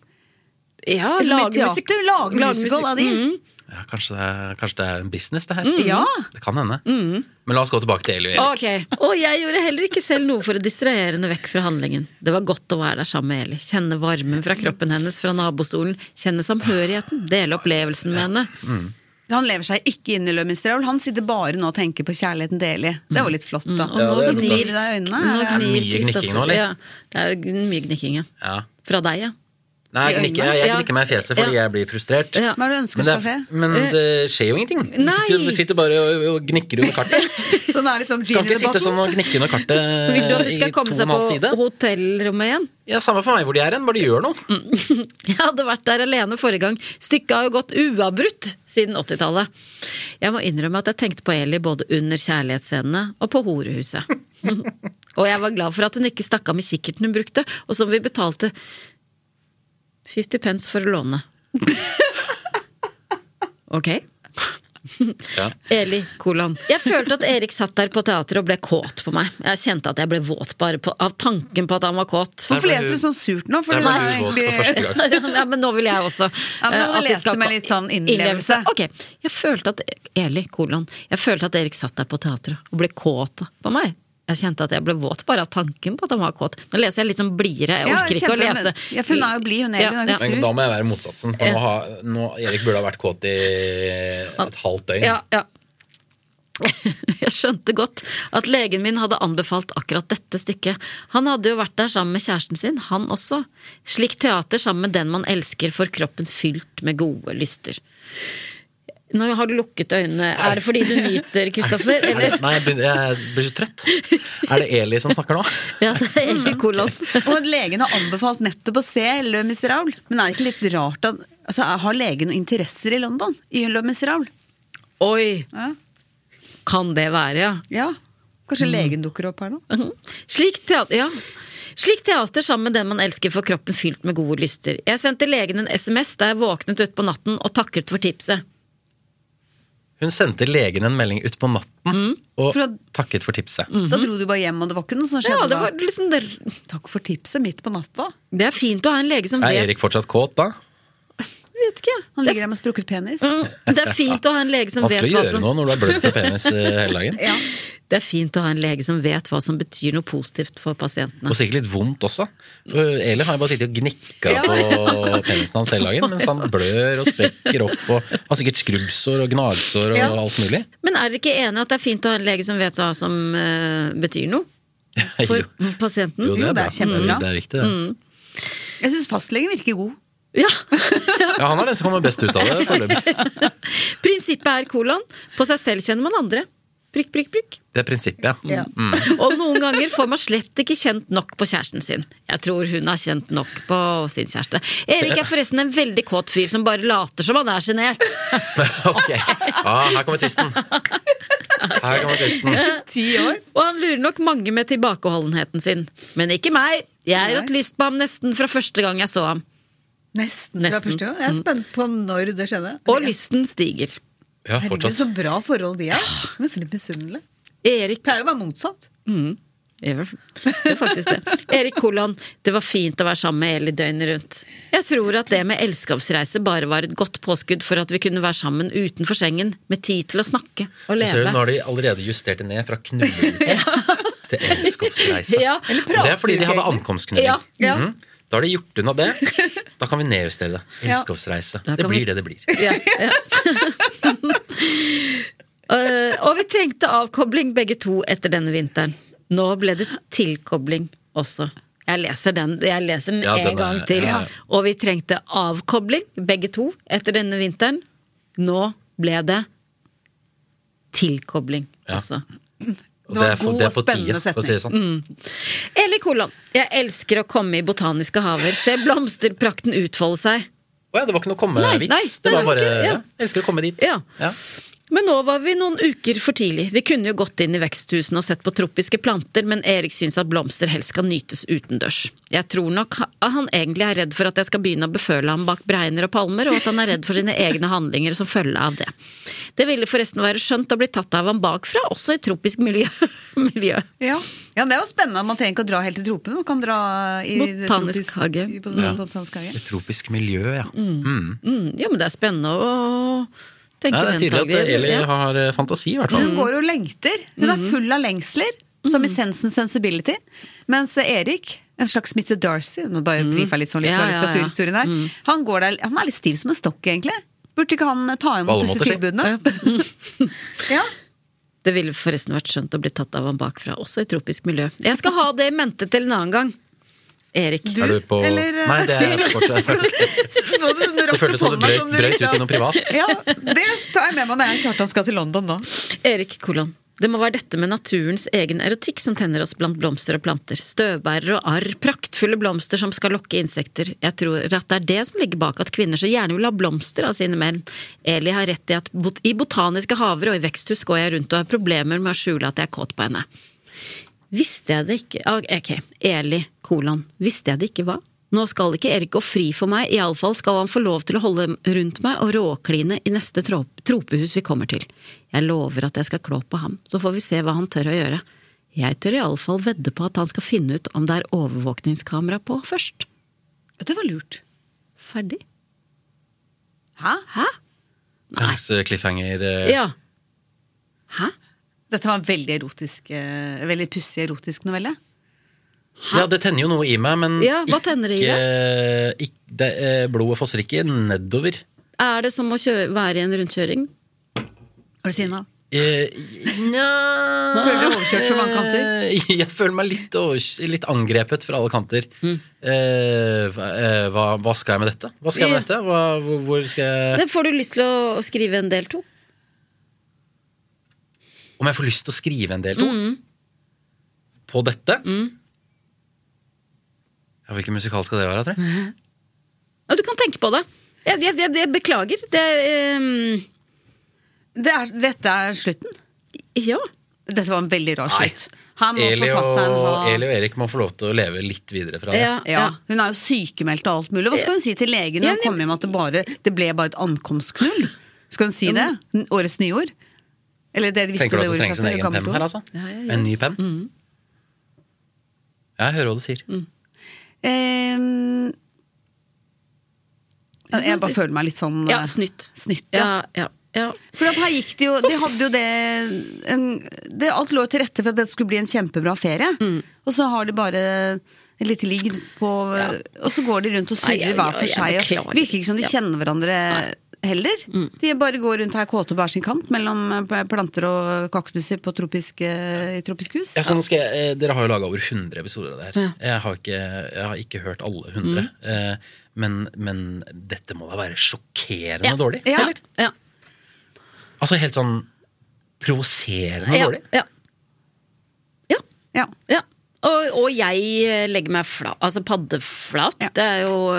Speaker 1: Ja,
Speaker 2: Eller mye teater, lage musical av de.
Speaker 1: Mm.
Speaker 4: Ja, kanskje, det er, kanskje det er en business, det her.
Speaker 2: Mm. Ja. Mm.
Speaker 4: Det kan hende. Men la oss gå tilbake til Eli og Erik.
Speaker 1: Ok. Og jeg gjorde heller ikke selv noe for å distrahere henne vekk fra handlingen. Det var godt å være der sammen med Eli. Kjenne varmen fra kroppen hennes, fra nabostolen. Kjenne samhørigheten. Dele opplevelsen med henne.
Speaker 2: Han lever seg ikke inn i Le Miserable. Han sitter bare nå og tenker på kjærligheten til Eli. Det var litt flott, da.
Speaker 1: Mm. Og
Speaker 4: Ja,
Speaker 1: nå
Speaker 4: det er
Speaker 1: gnir
Speaker 2: flott. Gnir deg i øynene,
Speaker 1: Nå
Speaker 2: er det?
Speaker 4: Er
Speaker 1: gnir
Speaker 4: det mye gnikking
Speaker 1: Kristoffer-
Speaker 4: nå, eller?
Speaker 1: Ja, det er mye gnikking, ja.
Speaker 4: Ja.
Speaker 1: Fra deg, ja.
Speaker 4: Nei, jeg
Speaker 2: I
Speaker 4: gnikker,
Speaker 2: øynene.
Speaker 4: jeg,
Speaker 1: Ja.
Speaker 4: gnikker meg i fjeset fordi
Speaker 1: Ja.
Speaker 4: jeg blir frustrert.
Speaker 1: Ja.
Speaker 2: Hva er det du ønsker Eh.
Speaker 4: Men det,
Speaker 2: skal
Speaker 4: er-
Speaker 2: skje?
Speaker 4: men det skjer jo ingenting. Du
Speaker 1: Nei.
Speaker 4: sitter, du sitter bare og, og gnikker under kartet.
Speaker 2: Sånn er liksom
Speaker 4: Du
Speaker 2: gin
Speaker 4: kan
Speaker 2: in
Speaker 4: ikke
Speaker 2: a
Speaker 4: sitte
Speaker 2: bottle.
Speaker 4: sånn og gnikke under kartet
Speaker 1: Vil du at de
Speaker 4: Eh, i
Speaker 1: skal komme
Speaker 4: to
Speaker 1: seg
Speaker 4: og en halv
Speaker 1: på
Speaker 4: side.
Speaker 1: hotellrommet igjen?
Speaker 4: Ja, Samme for meg hvor de er hen, bare de gjør noe.
Speaker 2: Mm.
Speaker 1: Jeg hadde vært der alene forrige gang. Stykket har jo gått uavbrutt siden 80-tallet. Jeg må innrømme at jeg tenkte på Eli både under kjærlighetsscenene og på horehuset. og jeg var glad for at hun ikke stakk av med kikkerten hun brukte, og som vi betalte 50 pence for å låne. Ok.
Speaker 4: Ja.
Speaker 1: Eli kolon. Jeg følte at Erik satt der på teatret og ble kåt på meg. Jeg kjente at jeg ble våt bare på, av tanken på at han var kåt.
Speaker 2: Hvorfor leser du sånn surt nå? For du
Speaker 4: Der ble
Speaker 2: er
Speaker 4: du våt
Speaker 2: egentlig-
Speaker 4: for første gang.
Speaker 1: ja, men nå vil jeg også.
Speaker 2: Ja, men
Speaker 1: eh,
Speaker 2: nå må du
Speaker 1: at de
Speaker 2: lese
Speaker 1: skal
Speaker 2: det med
Speaker 1: ko-
Speaker 2: litt sånn innlevelse.
Speaker 1: Ok. Jeg følte at Eli, kolon, jeg følte at Erik satt der på teatret og ble kåt på meg. Jeg kjente at jeg ble våt bare av tanken på at han var kåt. Nå leser jeg litt sånn blidere. Jeg
Speaker 2: Ja,
Speaker 1: orker ikke å
Speaker 2: kjempe-
Speaker 1: lese.
Speaker 2: Ja, for hun er jo blid, hun Eli, hun er jo
Speaker 4: Men da må jeg være motsatsen. For nå har, nå, Erik burde ha vært kåt i et halvt døgn.
Speaker 1: Ja, ja. Jeg skjønte godt at legen min hadde anbefalt akkurat dette stykket. Han hadde jo vært der sammen med kjæresten sin, han også. Slik teater sammen med den man elsker, får kroppen fylt med gode lyster. Nå har du lukket øynene. Er det fordi du nyter, Kristoffer?
Speaker 4: Er det,
Speaker 1: Eller?
Speaker 4: nei, jeg begynner- jeg blir så trøtt. Er det Eli som snakker nå?
Speaker 1: Ja, det er egentlig kolon.
Speaker 2: Og at legen har anbefalt nettopp å se Le Miserable. Men er det ikke litt rart at altså, Har legen noen interesser i London? I Le Miserable?
Speaker 1: Oi!
Speaker 2: Ja.
Speaker 1: Kan det være, ja.
Speaker 2: ja.
Speaker 1: Mm.
Speaker 2: Kanskje legen dukker opp her nå?
Speaker 1: Mhm. Slik teater, ja. Slik teater sammen med den man elsker, får kroppen fylt med gode lyster. Jeg sendte legen en SMS da jeg våknet utpå natten og takket for tipset.
Speaker 4: Hun sendte legen en melding utpå natten og
Speaker 2: For Mm. at-
Speaker 4: takket for tipset.
Speaker 2: Da dro du bare hjem, og det var ikke noe som
Speaker 1: Mhm.
Speaker 2: skjedde?
Speaker 1: Ja, det,
Speaker 2: da.
Speaker 1: var liksom, det,
Speaker 2: Takk for tipset midt på natta.
Speaker 1: det er fint å ha en lege som
Speaker 4: Er
Speaker 1: vet
Speaker 4: Erik fortsatt kåt da?
Speaker 1: Vet ikke, jeg.
Speaker 2: Han ligger der med sprukket penis.
Speaker 1: Mm, Det er fint å ha en lege som vet
Speaker 4: Vanskelig å
Speaker 1: hva
Speaker 4: gjøre
Speaker 1: som
Speaker 4: noe når du har blødd på penis eh, hele dagen.
Speaker 2: Ja.
Speaker 1: Det er fint å ha en lege som vet hva som betyr noe positivt for pasientene.
Speaker 4: Og sikkert litt vondt også. For Elif har jo bare sittet og gnikka på penisen hans hele dagen, mens han blør og sprekker opp og har sikkert skrubbsår og gnagsår og
Speaker 2: Ja.
Speaker 4: alt mulig.
Speaker 1: Men er dere ikke enige at det er fint å ha en lege som vet hva som eh, betyr noe for
Speaker 4: Jo.
Speaker 1: pasienten?
Speaker 2: Jo, det er
Speaker 4: bra.
Speaker 2: kjempebra.
Speaker 4: Det er viktig, det.
Speaker 2: Jeg syns fastlegen virker god.
Speaker 1: Ja!
Speaker 4: Ja, han er den som kommer best ut av det foreløpig.
Speaker 1: Prinsippet er kolon. På seg selv kjenner man andre. Prikk, prikk, prikk.
Speaker 4: Det er prinsippet, ja.
Speaker 2: Ja.
Speaker 4: Mm.
Speaker 1: Og noen ganger får man slett ikke kjent nok på kjæresten sin. Jeg tror hun har kjent nok på sin kjæreste. Erik er forresten en veldig kåt fyr som bare later som han er sjenert.
Speaker 4: Ok. Ah, her kommer tvisten. Her kommer tvisten.
Speaker 2: Ti år.
Speaker 1: Og han lurer nok mange med tilbakeholdenheten sin. Men ikke meg. Jeg har
Speaker 2: Nei.
Speaker 1: hatt lyst på ham nesten fra første gang jeg så ham.
Speaker 2: Nesten. fra
Speaker 1: Nesten.
Speaker 2: første gang. Jeg er spent på når det skjedde.
Speaker 1: Og lysten stiger.
Speaker 4: Ja,
Speaker 2: Herregud,
Speaker 4: fortsatt.
Speaker 2: så bra forhold de er. Nesten litt misunnelig.
Speaker 1: Erik
Speaker 2: Pleier å være motsatt.
Speaker 1: Det var- det er faktisk det. Erik Kolon, det var fint å være sammen med Eli døgnet rundt. Jeg tror at det med elskapsreise bare var et godt påskudd for at vi kunne være sammen utenfor sengen, med tid til å snakke og
Speaker 4: Ser
Speaker 1: leve.
Speaker 4: du, nå har de allerede justert det ned fra knulling til elskovsreise.
Speaker 1: Ja.
Speaker 2: Eller
Speaker 4: Og det
Speaker 2: prater
Speaker 4: er fordi
Speaker 2: jo
Speaker 4: de hadde
Speaker 2: ikke egentlig.
Speaker 4: ankomstknulling.
Speaker 1: Ja,
Speaker 2: ja.
Speaker 4: Mhm. Da har de gjort unna det. Da kan vi nedjustere det.
Speaker 2: Ja.
Speaker 4: Elskovsreise.
Speaker 1: Da
Speaker 4: Det
Speaker 1: kan vi-
Speaker 4: blir det det blir.
Speaker 1: Ja, ja. Eh, og vi trengte avkobling begge to etter denne vinteren. Nå ble det tilkobling også. Jeg leser den, jeg leser den
Speaker 4: Ja, den
Speaker 1: en
Speaker 4: er-
Speaker 1: gang til.
Speaker 4: ja, ja.
Speaker 1: Og vi trengte avkobling, begge to, etter denne vinteren. Nå ble det tilkobling
Speaker 4: Ja.
Speaker 1: også.
Speaker 4: Og
Speaker 2: Det var
Speaker 4: er for-
Speaker 2: god
Speaker 4: det er på
Speaker 2: og spennende
Speaker 4: tide, for å si det sånn.
Speaker 1: Eli Kolon, jeg elsker å komme i botaniske haver, se blomsterprakten utfolde seg.
Speaker 4: Å ja, det var ikke noe
Speaker 1: Nei, nei,
Speaker 4: komme-vits. Det
Speaker 1: det
Speaker 4: var
Speaker 1: var
Speaker 4: bare
Speaker 1: ikke- ja.
Speaker 4: ja. Jeg elsker å komme dit.
Speaker 1: Ja.
Speaker 4: Ja.
Speaker 1: Men nå var vi noen uker for tidlig. Vi kunne jo gått inn i veksthusene og sett på tropiske planter, men Erik syns at blomster helst skal nytes utendørs. Jeg tror nok ha- han egentlig er redd for at jeg skal begynne å beføle ham bak bregner og palmer, og at han er redd for sine egne handlinger som følge av det. Det ville forresten være skjønt å bli tatt av ham bakfra, også i tropisk miljø. miljø.
Speaker 2: Ja. ja, det er jo spennende. Man trenger ikke å dra helt til tropene. Man kan dra i
Speaker 1: Botanisk
Speaker 2: tropisk-
Speaker 1: hage.
Speaker 2: i bot-
Speaker 4: Ja.
Speaker 2: Botanisk hage.
Speaker 4: Et tropisk miljø, ja. Mm.
Speaker 1: Mm, ja, men det er spennende å tenke
Speaker 4: ja. Det er tydelig at
Speaker 1: ventagelig.
Speaker 4: Eli
Speaker 1: Ja. Mm.
Speaker 4: har eh, fantasi, i hvert fall.
Speaker 2: Hun går og lengter. Hun er full av lengsler, som i Sense and Sensibility. Mens eh, Erik, en slags Mr. Darcy, nå bare brifer jeg litt sånn litt fra
Speaker 1: Ja, ja, ja.
Speaker 2: litteraturhistorien her, han går der, han er litt stiv som en stokk, egentlig. Burde ikke han eh, ta
Speaker 4: På
Speaker 2: imot
Speaker 4: alle
Speaker 2: disse
Speaker 4: måter, si.
Speaker 2: tilbudene? Ja.
Speaker 1: Det ville forresten vært skjønt å bli tatt av ham bakfra, også i tropisk miljø. Jeg skal ha det i mente til en annen gang. Erik.
Speaker 2: Du,
Speaker 4: er du på
Speaker 2: eller, eh,
Speaker 4: Nei, det er fortsatt
Speaker 2: Så du den
Speaker 4: Det
Speaker 2: rakte
Speaker 4: føltes som du
Speaker 2: hånda som du
Speaker 4: brøt, brøt ut i
Speaker 2: liksom
Speaker 4: noe privat.
Speaker 2: Ja, det tar jeg med meg når jeg og Kjartan skal til London nå.
Speaker 1: Erik Kolon. Det må være dette med naturens egen erotikk som tenner oss blant blomster og planter. Støvbærere og arr, praktfulle blomster som skal lokke insekter. Jeg tror at det er det som ligger bak at kvinner så gjerne vil ha blomster av sine menn. Eli har rett i at bot i botaniske haver og i veksthus går jeg rundt og har problemer med å skjule at jeg er kåt på henne. Visste jeg det ikke Ah, Ok, Eli, kolon. Visste jeg det ikke hva? Nå skal ikke Erik gå fri for meg, iallfall skal han få lov til å holde rundt meg og råkline i neste tro- tropehus vi kommer til. Jeg lover at jeg skal klå på ham, så får vi se hva han tør å gjøre. Jeg tør iallfall vedde på at han skal finne ut om det er overvåkningskamera på først.
Speaker 2: Ja, Det var lurt.
Speaker 1: Ferdig.
Speaker 2: Hæ?
Speaker 1: Hæ?
Speaker 4: En slags cliffhanger. eh,
Speaker 1: Ja. Hæ?
Speaker 2: Dette var en veldig erotisk, eh, veldig pussig erotisk novelle.
Speaker 4: Ja, det tenner jo noe i meg, men
Speaker 1: Ja, hva tenner det i
Speaker 4: ikke- ikk- det, eh, blodet fosser ikke nedover.
Speaker 1: Er det som å kjø være i en rundkjøring?
Speaker 2: Har du siden av?
Speaker 4: Eh, Nja
Speaker 2: Føler du deg overkjørt fra mange kanter?
Speaker 4: Eh, Jeg føler meg litt, over- litt angrepet fra alle kanter.
Speaker 1: Mm.
Speaker 4: Eh, hva- eh, hva, hva skal jeg med dette? Hva skal jeg med dette? Hva, hvor, hvor skal jeg,
Speaker 1: Nei, Får du lyst til å skrive en del to?
Speaker 4: om jeg får lyst til å skrive en del to
Speaker 1: Mm.
Speaker 4: på dette? Ja, hvilken musikal skal det være, tror jeg?
Speaker 1: Ja, du kan tenke på det. Jeg, jeg, jeg, jeg beklager. Det ehm,
Speaker 2: Det er, dette er slutten.
Speaker 1: Ja.
Speaker 2: Dette var en veldig rar
Speaker 4: Nei.
Speaker 2: slutt. Her må
Speaker 4: Eli
Speaker 2: forfatteren ha
Speaker 4: og, Eli og Erik må få lov til å leve litt videre fra det.
Speaker 1: ja,
Speaker 2: ja.
Speaker 1: ja.
Speaker 2: Hun er jo sykemeldt og alt mulig. Hva skal hun si til legen
Speaker 1: Ja,
Speaker 2: når hun kommer hjem at det, bare, det ble bare et ankomstknull? Skal hun si det? N- Årets nyord? Eller dere visste
Speaker 4: Tenker du
Speaker 2: det
Speaker 4: at det
Speaker 2: ordet
Speaker 4: trengs
Speaker 2: fra
Speaker 4: en
Speaker 2: før,
Speaker 4: egen
Speaker 2: gammelt
Speaker 4: penn
Speaker 2: ord?
Speaker 4: her, altså?
Speaker 1: Ja, ja, Mm. ja.
Speaker 4: En ny penn? Jeg hører hva du sier.
Speaker 1: Mm.
Speaker 2: Ehm, jeg bare føler meg litt sånn
Speaker 1: Ja,
Speaker 2: eh,
Speaker 1: snytt.
Speaker 2: snytt ja.
Speaker 1: Ja, ja. Ja.
Speaker 2: For at her gikk det jo De hadde jo det, en, det Alt lå til rette for at dette skulle bli en kjempebra ferie.
Speaker 1: Mm.
Speaker 2: Og så har de bare en liten ligg på Og så går de rundt
Speaker 1: Nei,
Speaker 2: og surrer
Speaker 1: jeg-
Speaker 2: hver for
Speaker 1: jeg- jeg
Speaker 2: seg.
Speaker 1: beklager.
Speaker 2: Og virker ikke som de
Speaker 1: Ja. Mm.
Speaker 2: kjenner hverandre heller. De bare går rundt her kåte og bærer sin kant mellom eh, planter og kaktuser på tropisk, eh, i tropisk hus.
Speaker 5: Ja, så nå skal jeg, eh, dere har jo laga over 100 episoder av det her. Jeg, har ikke, jeg har ikke hørt alle 100.
Speaker 1: Mm.
Speaker 5: Eh, men, men dette må da være sjokkerende dårlig?
Speaker 2: Ja.
Speaker 5: Eller?
Speaker 1: Ja.
Speaker 5: Altså helt sånn provoserende
Speaker 1: Ja.
Speaker 5: dårlig?
Speaker 1: ja. ja.
Speaker 2: Ja.
Speaker 1: Ja. Og, og jeg eh, legger meg flat, altså paddeflat. Det er jo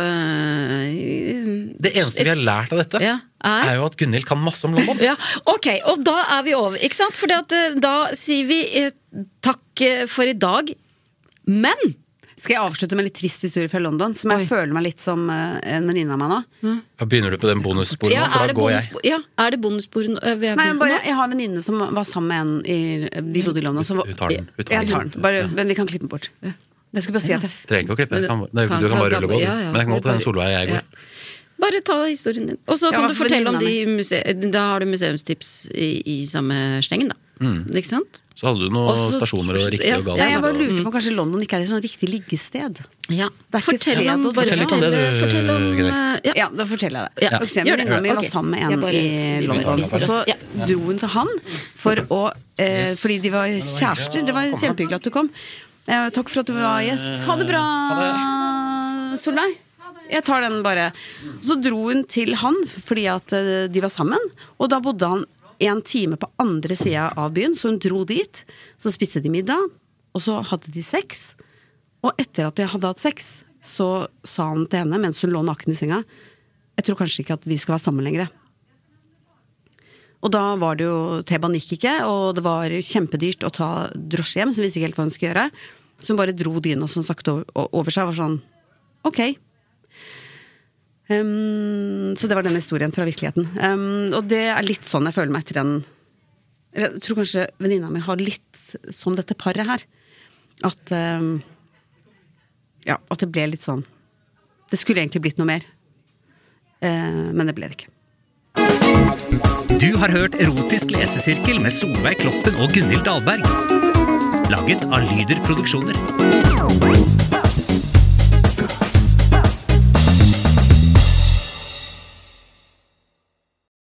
Speaker 1: øh,
Speaker 5: Det eneste vi har lært av dette,
Speaker 1: Ja, er-
Speaker 5: er jo at Gunhild kan masse om London.
Speaker 1: ja, ok, og da er vi over, ikke sant? For da sier vi eh, takk eh, for i dag, men
Speaker 2: Skal jeg avslutte med en litt trist historie fra London, som jeg
Speaker 1: Oi.
Speaker 2: føler meg litt som eh, en venninne av meg nå?
Speaker 5: Ja, Begynner du på den bonussporet
Speaker 1: ja,
Speaker 5: nå, for da
Speaker 1: er det
Speaker 5: går jeg.
Speaker 1: bonusspor- Ja, er det bonussporet nå? vi er
Speaker 2: Nei,
Speaker 1: på-
Speaker 2: men bare, jeg har en venninne som var sammen med en i De bodde i London. Som,
Speaker 5: Hun tar den. Hun tar
Speaker 2: Jeg
Speaker 5: den.
Speaker 2: tar den. Bare, men vi kan klippe den bort. Jeg skulle bare si at jeg
Speaker 5: Trenger ikke å klippe.
Speaker 1: Men-
Speaker 5: Kan, nei, du kan bare rulle på. du.
Speaker 1: Ja, ja,
Speaker 5: Men jeg kan
Speaker 1: vi
Speaker 5: godt hende
Speaker 1: bare-
Speaker 5: Solveig og jeg går.
Speaker 1: Ja. Bare ta historien din. Og så
Speaker 2: Ja,
Speaker 1: kan
Speaker 2: hva
Speaker 1: du
Speaker 2: for
Speaker 1: fortelle om de
Speaker 2: venninna
Speaker 1: muse- Da har du museumstips i, i samme slengen, da.
Speaker 5: Mm.
Speaker 1: Ikke sant?
Speaker 5: Så hadde du noen
Speaker 1: Også-
Speaker 5: stasjoner og riktig
Speaker 1: ja,
Speaker 5: og
Speaker 2: Nei, jeg
Speaker 5: galt.
Speaker 2: bare lurte på om kanskje London ikke er et sånn riktig liggested.
Speaker 1: Ja.
Speaker 2: Det er ikke
Speaker 1: Fortell
Speaker 2: fred
Speaker 1: om,
Speaker 2: og
Speaker 1: bare
Speaker 5: Fortell litt om det,
Speaker 1: fortell-
Speaker 5: du,
Speaker 1: fortell om,
Speaker 5: Gunnhild.
Speaker 1: eh, ja.
Speaker 2: Ja, da forteller jeg det.
Speaker 1: Ja,
Speaker 2: For eksempel,
Speaker 1: gjør det.
Speaker 2: Venninna mi var
Speaker 1: Ok.
Speaker 2: sammen med
Speaker 1: Jeg
Speaker 2: en
Speaker 1: bare-
Speaker 2: i London, og så
Speaker 1: Ja.
Speaker 2: dro hun til han for å eh, Fordi de var kjærester. Det var kjempehyggelig at du kom. Eh, takk for at du var gjest. Ha det bra, Solveig. Jeg tar den bare. Så dro hun til han fordi at eh, de var sammen, og da bodde han en time på andre sida av byen, så hun dro dit. Så spiste de middag, og så hadde de sex. Og etter at jeg hadde hatt sex, så sa han til henne mens hun lå naken i senga Jeg tror kanskje ikke at vi skal være sammen lenger. Og da var det jo T-banen gikk ikke, og det var kjempedyrt å ta drosje hjem, så hun visste ikke helt hva hun skulle gjøre. Så hun bare dro dyna sånn sakte over, over seg og var sånn Ok. Ehm, så det var den historien fra virkeligheten. Ehm, og det er litt sånn jeg føler meg etter den eller Jeg tror kanskje venninna mi har litt som dette paret her. At ehm, ja, at det ble litt sånn Det skulle egentlig blitt noe mer. Eh, men det ble det ikke.
Speaker 3: Du har hørt Erotisk lesesirkel med Solveig Kloppen og Gunhild Dahlberg. Laget av Lyder Produksjoner.